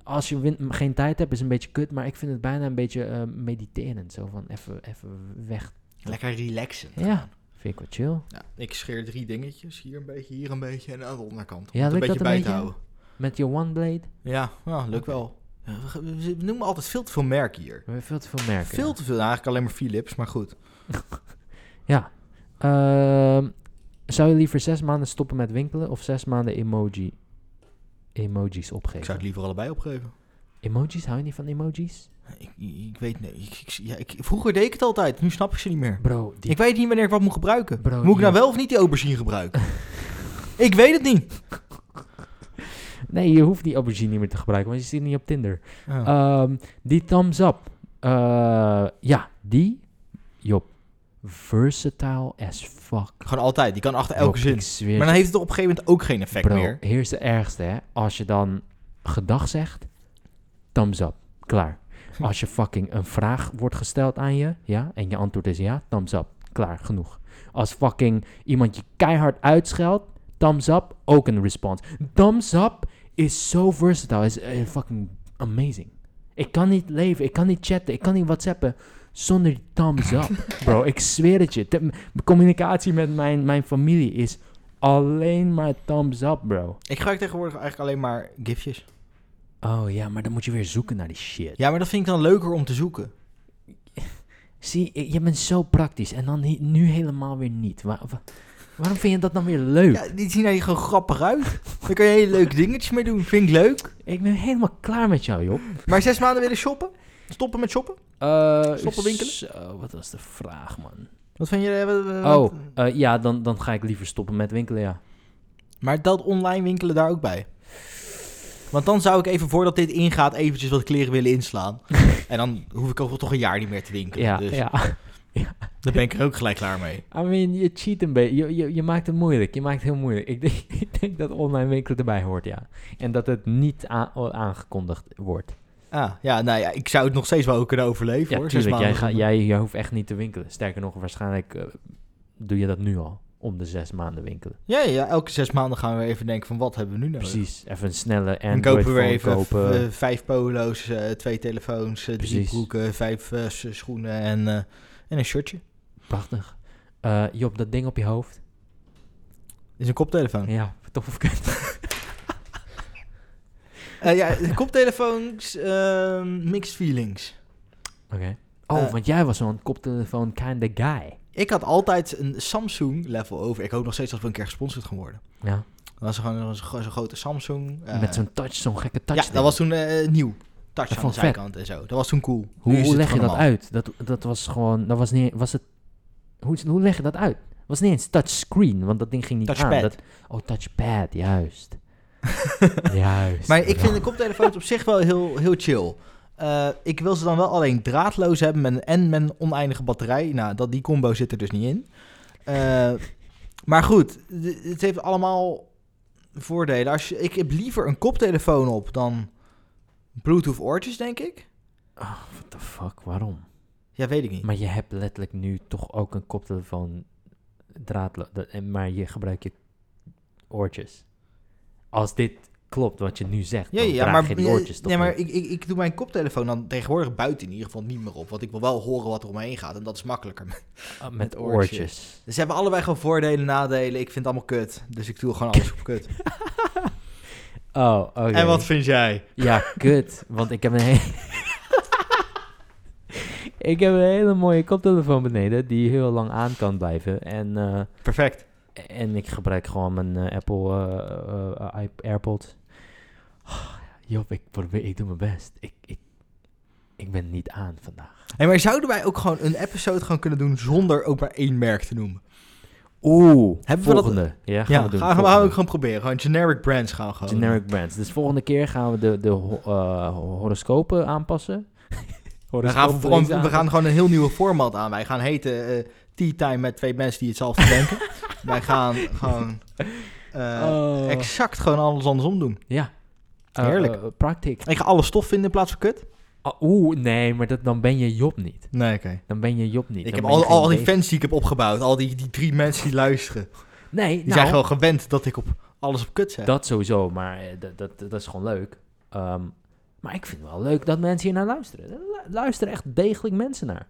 Speaker 2: Als je win- geen tijd hebt, is een beetje kut. Maar ik vind het bijna een beetje eh, mediterend. Zo van even even weg.
Speaker 1: Lekker relaxen.
Speaker 2: Ja, vind ik wat chill.
Speaker 1: Ja, ik scheer drie dingetjes. Hier een beetje, hier een beetje en aan de onderkant. Om
Speaker 2: Ja,
Speaker 1: het een
Speaker 2: lukt
Speaker 1: beetje
Speaker 2: dat
Speaker 1: bij
Speaker 2: een
Speaker 1: te
Speaker 2: beetje?
Speaker 1: houden.
Speaker 2: Met je one blade.
Speaker 1: Ja, ja lukt wel. Ja, we- We we noemen altijd veel te veel merken hier.
Speaker 2: We hebben veel te veel merken.
Speaker 1: Veel te veel. Nou, eigenlijk alleen maar Philips, maar goed.
Speaker 2: Ja. Ehm, zou je liever zes maanden stoppen met winkelen of zes maanden emoji, emojis
Speaker 1: Ik
Speaker 2: opgeven?
Speaker 1: zou het liever allebei opgeven.
Speaker 2: Emojis? Hou je niet van emojis?
Speaker 1: Ik, ik weet niet. Ik, ik- ja, ik- vroeger deed ik het altijd. Nu snap ik ze niet meer.
Speaker 2: Bro, die...
Speaker 1: Ik weet niet wanneer ik wat moet gebruiken.
Speaker 2: Bro,
Speaker 1: moet ik nou
Speaker 2: ja.
Speaker 1: wel of niet die aubergine gebruiken? ik weet het niet.
Speaker 2: Nee, je hoeft die aubergine niet meer te gebruiken, want je zit niet op Tinder.
Speaker 1: Ja.
Speaker 2: Ehm, die thumbs up. Eh, ja, die. Job. Versatile as fuck.
Speaker 1: Gewoon altijd. Die kan achter elke
Speaker 2: Job,
Speaker 1: zin.
Speaker 2: ik
Speaker 1: Maar
Speaker 2: zweer
Speaker 1: nou,
Speaker 2: het
Speaker 1: dan heeft het op een gegeven moment ook geen effect
Speaker 2: Bro,
Speaker 1: meer.
Speaker 2: hier is de ergste, hè. Als je dan gedag zegt, thumbs up. Klaar. Als je fucking een vraag wordt gesteld aan je, ja, en je antwoord is ja, thumbs up. Klaar, genoeg. Als fucking iemand je keihard uitscheldt, thumbs up, ook een response. Thumbs up is zo versatile, is eh, fucking amazing. Ik kan niet leven, ik kan niet chatten, ik kan niet whatsappen zonder die thumbs up. Bro, ik zweer het je. Te- m- communicatie met mijn, mijn familie is alleen maar thumbs up, bro.
Speaker 1: Ik gebruik tegenwoordig eigenlijk alleen maar gifjes.
Speaker 2: Oh ja, maar dan moet je weer zoeken naar die shit.
Speaker 1: Ja, maar dat vind ik dan leuker om te zoeken.
Speaker 2: Zie, i- je bent zo praktisch en dan he- nu helemaal weer niet. Wa- wa- waarom vind je dat dan weer leuk?
Speaker 1: Ja, die zien er gewoon grappig uit. Daar kan je hele leuke dingetjes mee doen. Vind ik leuk.
Speaker 2: Ik ben helemaal klaar met jou, joh.
Speaker 1: Maar zes maanden willen shoppen? Stoppen met shoppen?
Speaker 2: Eh,
Speaker 1: Stoppen winkelen?
Speaker 2: Zo, wat was de vraag, man?
Speaker 1: Wat vind je... eh, wat- wat-
Speaker 2: Oh, eh, ja, dan, dan ga ik liever stoppen met winkelen, ja.
Speaker 1: Maar dat online winkelen daar ook bij. Want dan zou ik even voordat dit ingaat eventjes wat kleren willen inslaan. en dan hoef ik ook toch een jaar niet meer te winkelen.
Speaker 2: Ja,
Speaker 1: dus
Speaker 2: ja.
Speaker 1: daar ben ik er ook gelijk klaar mee.
Speaker 2: I mean, je cheat een beetje. Je, je, je maakt het moeilijk. Je maakt het heel moeilijk. Ik denk, ik denk dat online winkelen erbij hoort, ja. En dat het niet aan- aangekondigd wordt.
Speaker 1: Ah, ja, nou ja, ik zou het nog steeds wel kunnen overleven
Speaker 2: Ja,
Speaker 1: hoor.
Speaker 2: tuurlijk.
Speaker 1: zes
Speaker 2: Jij,
Speaker 1: maanden.
Speaker 2: gaat, jij, jij hoeft echt niet te winkelen. Sterker nog, waarschijnlijk eh, doe je dat nu al. Om de zes maanden winkelen.
Speaker 1: Ja, ja, elke zes maanden gaan we weer even denken van wat hebben we nu nodig.
Speaker 2: Precies. Even een snelle
Speaker 1: En
Speaker 2: Android
Speaker 1: kopen we weer even
Speaker 2: phone kopen.
Speaker 1: eh, vijf polo's, eh, twee telefoons, eh, drie
Speaker 2: Precies.
Speaker 1: broeken, vijf eh, s- schoenen en, eh, en een shirtje.
Speaker 2: Prachtig. Eh, Job, dat ding op je hoofd.
Speaker 1: Is een koptelefoon. Ja,
Speaker 2: Ja, tof of kut.
Speaker 1: Eh, ja koptelefoons, ehm, mixed feelings.
Speaker 2: Oké. Oh,
Speaker 1: Eh,
Speaker 2: want jij was zo'n koptelefoon kind of guy.
Speaker 1: Ik had altijd een Samsung level over. Ik hoop nog steeds dat we een keer gesponsord gaan worden.
Speaker 2: Ja.
Speaker 1: Dat was gewoon een- zo'n grote Samsung. eh,
Speaker 2: Met zo'n touch, zo'n gekke touch.
Speaker 1: Ja, dat was toen eh, nieuw. Touch aan
Speaker 2: vond
Speaker 1: de
Speaker 2: ik vet.
Speaker 1: zijkant en zo. Dat was toen cool. Nu
Speaker 2: Hoe,
Speaker 1: is
Speaker 2: hoe
Speaker 1: het
Speaker 2: leg je
Speaker 1: gewoon
Speaker 2: dat
Speaker 1: normaal.
Speaker 2: uit? Dat, dat was gewoon, dat was niet, was het, hoe, hoe leg je dat uit? Het was niet eens touchscreen, want dat ding ging niet aan.
Speaker 1: Touchpad.
Speaker 2: Dat, oh, touchpad, juist. juist.
Speaker 1: Maar ik vind de koptelefoons op zich wel heel, heel chill. Eh, ik wil ze dan wel alleen draadloos hebben met, en met een oneindige batterij. Nou, dat, die combo zit er dus niet in. Eh, maar goed, d- het heeft allemaal voordelen. Als je, ik heb liever een koptelefoon op dan Bluetooth oortjes, denk ik.
Speaker 2: Oh, What the fuck, waarom?
Speaker 1: Ja, weet ik niet.
Speaker 2: Maar je hebt letterlijk nu toch ook een koptelefoon draadloos, dat- en- maar je gebruikt je oortjes. Als dit klopt wat je nu zegt,
Speaker 1: Ja,
Speaker 2: dan
Speaker 1: ja,
Speaker 2: draag
Speaker 1: maar,
Speaker 2: je die oortjes toch
Speaker 1: nee, maar
Speaker 2: niet?
Speaker 1: ik, ik, ik doe mijn koptelefoon dan tegenwoordig buiten in ieder geval niet meer op. Want ik wil wel horen wat er om me heen gaat en dat is makkelijker.
Speaker 2: Ah, met,
Speaker 1: met
Speaker 2: oortjes.
Speaker 1: oortjes. Dus ze hebben allebei gewoon voordelen, nadelen. Ik vind het allemaal kut. Dus ik doe gewoon alles op kut.
Speaker 2: Oh, oké.
Speaker 1: En wat vind jij?
Speaker 2: Ja, kut. Want ik heb een hele... ik heb een hele mooie koptelefoon beneden die heel lang aan kan blijven. En, eh,
Speaker 1: Perfect.
Speaker 2: en ik gebruik gewoon mijn eh, Apple eh, eh, iP- AirPods. Job, ik, probeer, ik doe mijn best. Ik, ik, ik ben niet aan vandaag.
Speaker 1: Hey, maar zouden wij ook gewoon een episode gewoon kunnen doen zonder ook maar één merk te noemen?
Speaker 2: Oeh,
Speaker 1: Hebben we dat-
Speaker 2: volgende. Ja, gaan
Speaker 1: Ja,
Speaker 2: we doen.
Speaker 1: gaan we
Speaker 2: volgende.
Speaker 1: ook gewoon proberen. Gewoon generic brands gaan we gewoon.
Speaker 2: Generic brands. Dus volgende keer gaan we de, de ho- eh, horoscopen aanpassen.
Speaker 1: We gaan,
Speaker 2: Horoscopen
Speaker 1: gewoon,
Speaker 2: lezen
Speaker 1: we gaan gewoon een heel nieuwe format aan. Wij gaan heten eh, Tea Time met twee mensen die hetzelfde denken. wij gaan gewoon eh,
Speaker 2: Oh.
Speaker 1: exact gewoon alles andersom doen.
Speaker 2: Ja. Eh,
Speaker 1: Heerlijk.
Speaker 2: eh, praktijk.
Speaker 1: Ik ga alle stof vinden in plaats van kut.
Speaker 2: Ah, Oeh, nee, maar dat, dan ben je Job niet.
Speaker 1: Nee, oké.
Speaker 2: Dan ben je Job niet.
Speaker 1: Ik
Speaker 2: Dan
Speaker 1: heb
Speaker 2: ben je
Speaker 1: al, al
Speaker 2: geen
Speaker 1: die
Speaker 2: leven.
Speaker 1: fans die ik heb opgebouwd, al die, die drie mensen die luisteren, die
Speaker 2: Nee, nou,
Speaker 1: zijn gewoon gewend dat ik op alles op kut zet.
Speaker 2: dat sowieso, maar eh, dat, dat, dat is gewoon leuk. Ehm, maar ik vind het wel leuk dat mensen hier naar luisteren. Er lu- Luisteren echt degelijk mensen naar.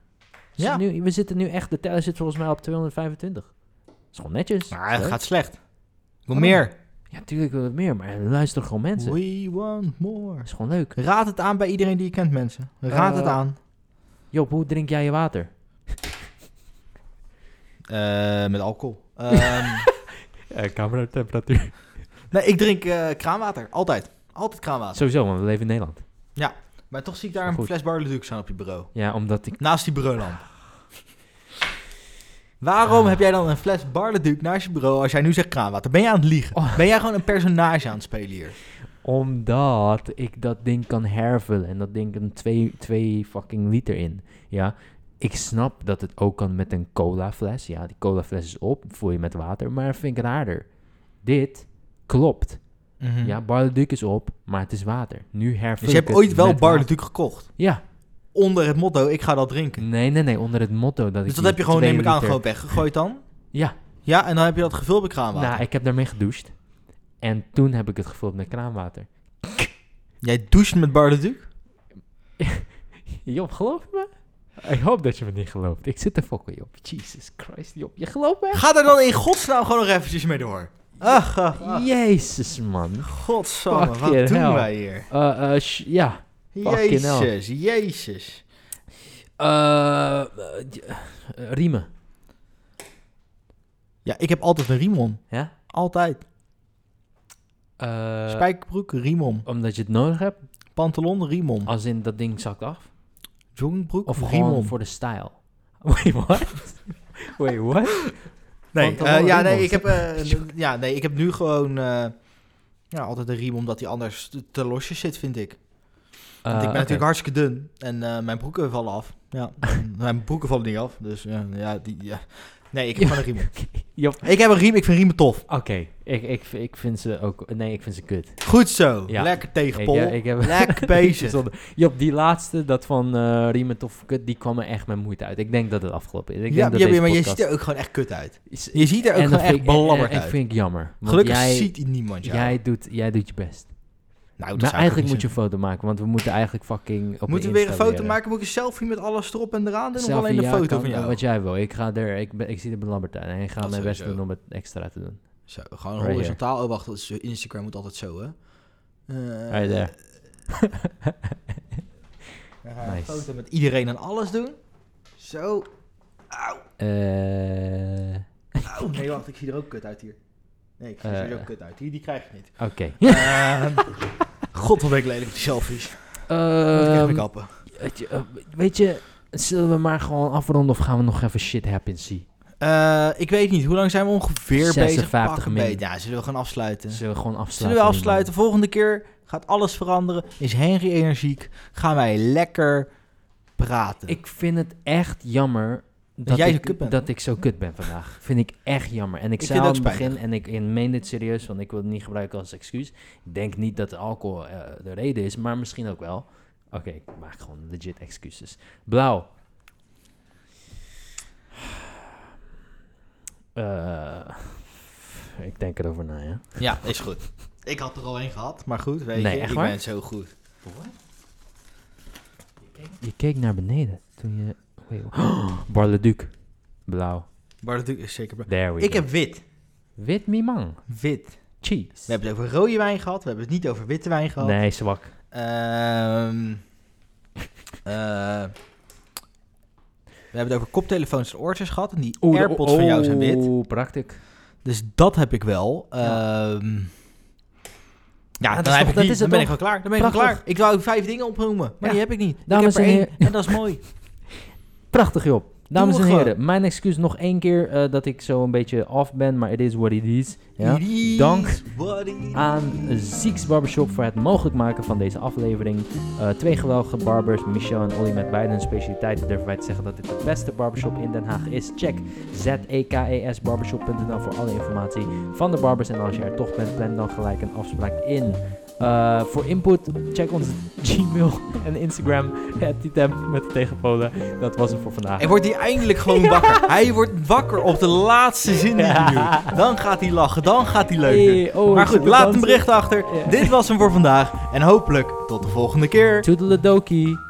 Speaker 2: Dus
Speaker 1: Ja.
Speaker 2: Nu, we zitten nu echt, de teller zit volgens mij op 225. Dat is gewoon netjes.
Speaker 1: Maar
Speaker 2: Leuk.
Speaker 1: het gaat slecht. Ik wil
Speaker 2: Waarom?
Speaker 1: meer.
Speaker 2: Ja, tuurlijk willen we meer, maar er luisteren gewoon mensen.
Speaker 1: We want more.
Speaker 2: Dat is gewoon leuk.
Speaker 1: Raad het aan bij iedereen die je kent, mensen. Raad
Speaker 2: Eh,
Speaker 1: het aan.
Speaker 2: Job, hoe drink jij je water?
Speaker 1: Eh, met alcohol. Ehm,
Speaker 2: cameratemperatuur.
Speaker 1: nee, ik drink eh, kraanwater. Altijd. Altijd kraanwater.
Speaker 2: Sowieso, want we leven in Nederland.
Speaker 1: Maar toch zie ik daar
Speaker 2: Maar
Speaker 1: een
Speaker 2: goed.
Speaker 1: fles Barle Duc staan op je bureau.
Speaker 2: Ja, omdat ik...
Speaker 1: Naast die bureaulamp. Waarom
Speaker 2: Ah.
Speaker 1: heb jij dan een fles Barle Duc naast je bureau als jij nu zegt kraanwater? Ben jij aan het liegen?
Speaker 2: Oh.
Speaker 1: Ben jij gewoon een personage aan het spelen hier?
Speaker 2: Omdat ik dat ding kan hervullen. En dat ding een 2 twee fucking liter in. Ja. Ik snap dat het ook kan met een cola fles. Ja, die cola fles is op. Voel je met water. Maar vind ik raarder. Dit klopt. Ja, Barle Duc is op. Maar het is water. Nu hervul
Speaker 1: Hm. dus Mhm. je
Speaker 2: ik
Speaker 1: hebt
Speaker 2: het
Speaker 1: ooit wel
Speaker 2: met
Speaker 1: Barle
Speaker 2: water.
Speaker 1: Duc gekocht.
Speaker 2: Ja.
Speaker 1: Onder het motto, ik ga dat drinken.
Speaker 2: Nee, nee, nee. Onder het motto dat ik
Speaker 1: Dus dat
Speaker 2: die
Speaker 1: heb je gewoon,
Speaker 2: twee
Speaker 1: neem ik aan,
Speaker 2: liter-
Speaker 1: gewoon weggegooid dan?
Speaker 2: Ja.
Speaker 1: Ja, en dan heb je dat gevuld bij kraanwater.
Speaker 2: Nou, ik heb daarmee gedoucht. En toen heb ik het gevuld met kraanwater.
Speaker 1: Jij doucht met Barle Duc?
Speaker 2: Job, geloof je me? Ik hoop dat je me niet gelooft. Ik zit te fokken, Job. Jesus Christ, Job. Je gelooft me?
Speaker 1: Ga daar dan in godsnaam gewoon nog eventjes mee door. Ach, ach, ach.
Speaker 2: Jezus, man.
Speaker 1: Godsamme, wat
Speaker 2: Fucking
Speaker 1: doen
Speaker 2: hell.
Speaker 1: wij hier?
Speaker 2: Eh, eh, sh- ja. Fucking
Speaker 1: Jezus, jezus.
Speaker 2: Eh, eh, j- eh, riemen.
Speaker 1: Ja, ik heb altijd een riem om.
Speaker 2: Ja?
Speaker 1: Altijd.
Speaker 2: Eh,
Speaker 1: Spijkerbroek, riem om.
Speaker 2: omdat je het nodig hebt.
Speaker 1: Pantalon, riem om.
Speaker 2: Als in dat ding zakt af.
Speaker 1: Joggingbroek,
Speaker 2: Of
Speaker 1: riem
Speaker 2: gewoon
Speaker 1: om.
Speaker 2: voor de style. Wait, what? Wait, what?
Speaker 1: Nee,
Speaker 2: pantalon,
Speaker 1: eh, ja,
Speaker 2: riem
Speaker 1: nee,
Speaker 2: om.
Speaker 1: ik heb, eh, een- ja, nee, ik heb nu gewoon eh, ja, altijd een riem omdat die anders te- te losjes zit, vind ik. Want
Speaker 2: Ah, Eh,
Speaker 1: ik ben natuurlijk hartstikke dun en eh, mijn broeken vallen af. Ja, mijn broeken vallen niet af, dus eh, ja, die, ja. Nee, ik heb
Speaker 2: Ja.
Speaker 1: gewoon een riem.
Speaker 2: Job.
Speaker 1: Ik heb een riem, ik vind riemen tof.
Speaker 2: Oké, ik, ik, ik vind ze ook... Nee, ik vind ze kut.
Speaker 1: Goed zo,
Speaker 2: Ja.
Speaker 1: lekker
Speaker 2: Ik,
Speaker 1: tegenpol,
Speaker 2: eh, ik heb...
Speaker 1: lekker bezig.
Speaker 2: Zonder- Job, die laatste, dat van eh Riemen of Kut, die kwam er echt met moeite uit. Ik denk dat het afgelopen is. Ik
Speaker 1: ja,
Speaker 2: denk dat
Speaker 1: ja,
Speaker 2: deze
Speaker 1: maar je
Speaker 2: podcast-
Speaker 1: ziet er ook gewoon echt kut uit.
Speaker 2: is-
Speaker 1: Je ziet er ook
Speaker 2: en dat
Speaker 1: gewoon
Speaker 2: vind
Speaker 1: echt
Speaker 2: ik- en- en-
Speaker 1: belabberd
Speaker 2: en
Speaker 1: uit.
Speaker 2: vind ik jammer. Want
Speaker 1: Gelukkig
Speaker 2: jij,
Speaker 1: ziet niemand jou.
Speaker 2: jij, doet, jij doet je best.
Speaker 1: nou, dat zou
Speaker 2: maar
Speaker 1: ik ook
Speaker 2: eigenlijk
Speaker 1: niet
Speaker 2: moet je
Speaker 1: zeggen.
Speaker 2: een foto maken, want we moeten eigenlijk fucking
Speaker 1: Moeten
Speaker 2: op
Speaker 1: we
Speaker 2: Insta
Speaker 1: weer een foto
Speaker 2: leren.
Speaker 1: maken? Moet ik een selfie met alles erop en eraan doen? Of
Speaker 2: Selfie,
Speaker 1: alleen een
Speaker 2: ja,
Speaker 1: foto
Speaker 2: kan, eh,
Speaker 1: van jou?
Speaker 2: Wat jij wil. Ik, ga er, ik, ben, ik zie er belabberd uit en ik ga
Speaker 1: Dat
Speaker 2: mijn best
Speaker 1: sowieso.
Speaker 2: doen om het extra te doen.
Speaker 1: Zo, gewoon
Speaker 2: Right
Speaker 1: horizontaal. Oh, wacht, dat is- Instagram moet altijd zo, hè? Eh,
Speaker 2: Right there.
Speaker 1: eh,
Speaker 2: Nice.
Speaker 1: Foto met iedereen en alles doen. Zo.
Speaker 2: Eh,
Speaker 1: Oh, Auw, nee, wacht, ik zie er ook kut uit hier. Nee, ik zie er
Speaker 2: Eh.
Speaker 1: ook kut uit. Die, die krijg je niet.
Speaker 2: Oké.
Speaker 1: Ehm, God, wat ben ik lelijk met die selfies. Moet ik echt mee
Speaker 2: Ehm,
Speaker 1: kappen.
Speaker 2: weet, je, eh, weet je, zullen we maar gewoon afronden of gaan we nog even shit happen zien?
Speaker 1: Eh, ik weet niet, hoe lang zijn we ongeveer bezig?
Speaker 2: 56
Speaker 1: Pak een
Speaker 2: minuten.
Speaker 1: beetje. Ja, zullen we gaan afsluiten?
Speaker 2: Zullen we gewoon afsluiten?
Speaker 1: Zullen we
Speaker 2: man?
Speaker 1: afsluiten? Volgende keer gaat alles veranderen. Is Henry energiek? Gaan wij lekker praten?
Speaker 2: Ik vind het echt jammer dat,
Speaker 1: jij zo
Speaker 2: ik,
Speaker 1: kut bent.
Speaker 2: dat ik zo kut ben vandaag. Vind ik echt jammer. En ik,
Speaker 1: Ik
Speaker 2: zei
Speaker 1: vind
Speaker 2: aan
Speaker 1: het
Speaker 2: het
Speaker 1: ook
Speaker 2: begin, en ik ik meen dit serieus, want ik wil het niet gebruiken als excuus. Ik denk niet dat de alcohol eh, de reden is, maar misschien ook wel. Oké, ik maak gewoon legit excuses. Blauw. Eh, ik denk erover na, ja.
Speaker 1: Ja, is goed. Ik had er al één gehad, maar goed, weet
Speaker 2: Nee,
Speaker 1: je,
Speaker 2: echt
Speaker 1: ik
Speaker 2: waar?
Speaker 1: ben zo goed.
Speaker 2: Je keek naar beneden toen je... Wait, oh, Barleduc. Blauw.
Speaker 1: Maar natuurlijk is zeker...
Speaker 2: There we
Speaker 1: Ik
Speaker 2: go.
Speaker 1: heb wit.
Speaker 2: Wit mimang.
Speaker 1: Wit.
Speaker 2: Cheese.
Speaker 1: We hebben het over rode wijn gehad, we hebben het niet over witte wijn gehad.
Speaker 2: Nee, zwak.
Speaker 1: Ehm, eh, we hebben het over koptelefoons en oortjes gehad. En die
Speaker 2: Oeh, de-
Speaker 1: AirPods van jou zijn wit.
Speaker 2: Oeh, praktik.
Speaker 1: Dus dat heb ik wel.
Speaker 2: Ja.
Speaker 1: Ehm, ja,
Speaker 2: dat
Speaker 1: dan,
Speaker 2: is
Speaker 1: heb
Speaker 2: toch-
Speaker 1: ik
Speaker 2: dat
Speaker 1: die.
Speaker 2: is
Speaker 1: dan
Speaker 2: het
Speaker 1: ben ik
Speaker 2: toch?
Speaker 1: al klaar. Dan ben ik al
Speaker 2: Prachtig.
Speaker 1: klaar. Ik wou vijf dingen opnoemen, maar
Speaker 2: Ja.
Speaker 1: die heb ik niet. ik heb
Speaker 2: Dames en
Speaker 1: er één
Speaker 2: heren.
Speaker 1: en dat is mooi.
Speaker 2: Prachtig, Job. Dames
Speaker 1: Doe
Speaker 2: en
Speaker 1: we
Speaker 2: heren, mijn excuus nog één keer eh, dat ik zo een beetje af ben, maar it is what it is. Ja?
Speaker 1: It
Speaker 2: Dank
Speaker 1: is what it is.
Speaker 2: Aan Zieks Barbershop voor het mogelijk maken van deze aflevering. Eh, twee geweldige barbers, Michel en Olly met beide hun specialiteiten, durven wij te zeggen dat dit de beste barbershop in Den Haag is. Check e zekesbarbershop.nl voor alle informatie van de barbers. En als je er toch bent, plan dan gelijk een afspraak in. Eh, voor input, check onze Gmail en Instagram, @titem met de tegenpolen. Dat was het voor vandaag.
Speaker 1: Hij wordt hier eindelijk gewoon wakker. Hij wordt wakker op de laatste zin die hij doet. Dan gaat hij lachen, dan gaat hij leuk doen.
Speaker 2: Hey, oh,
Speaker 1: Maar
Speaker 2: ik
Speaker 1: goed,
Speaker 2: zit te
Speaker 1: laat een
Speaker 2: dansen.
Speaker 1: bericht achter.
Speaker 2: Ja.
Speaker 1: Dit was hem voor vandaag. En hopelijk tot de volgende keer.
Speaker 2: Toedeledokie.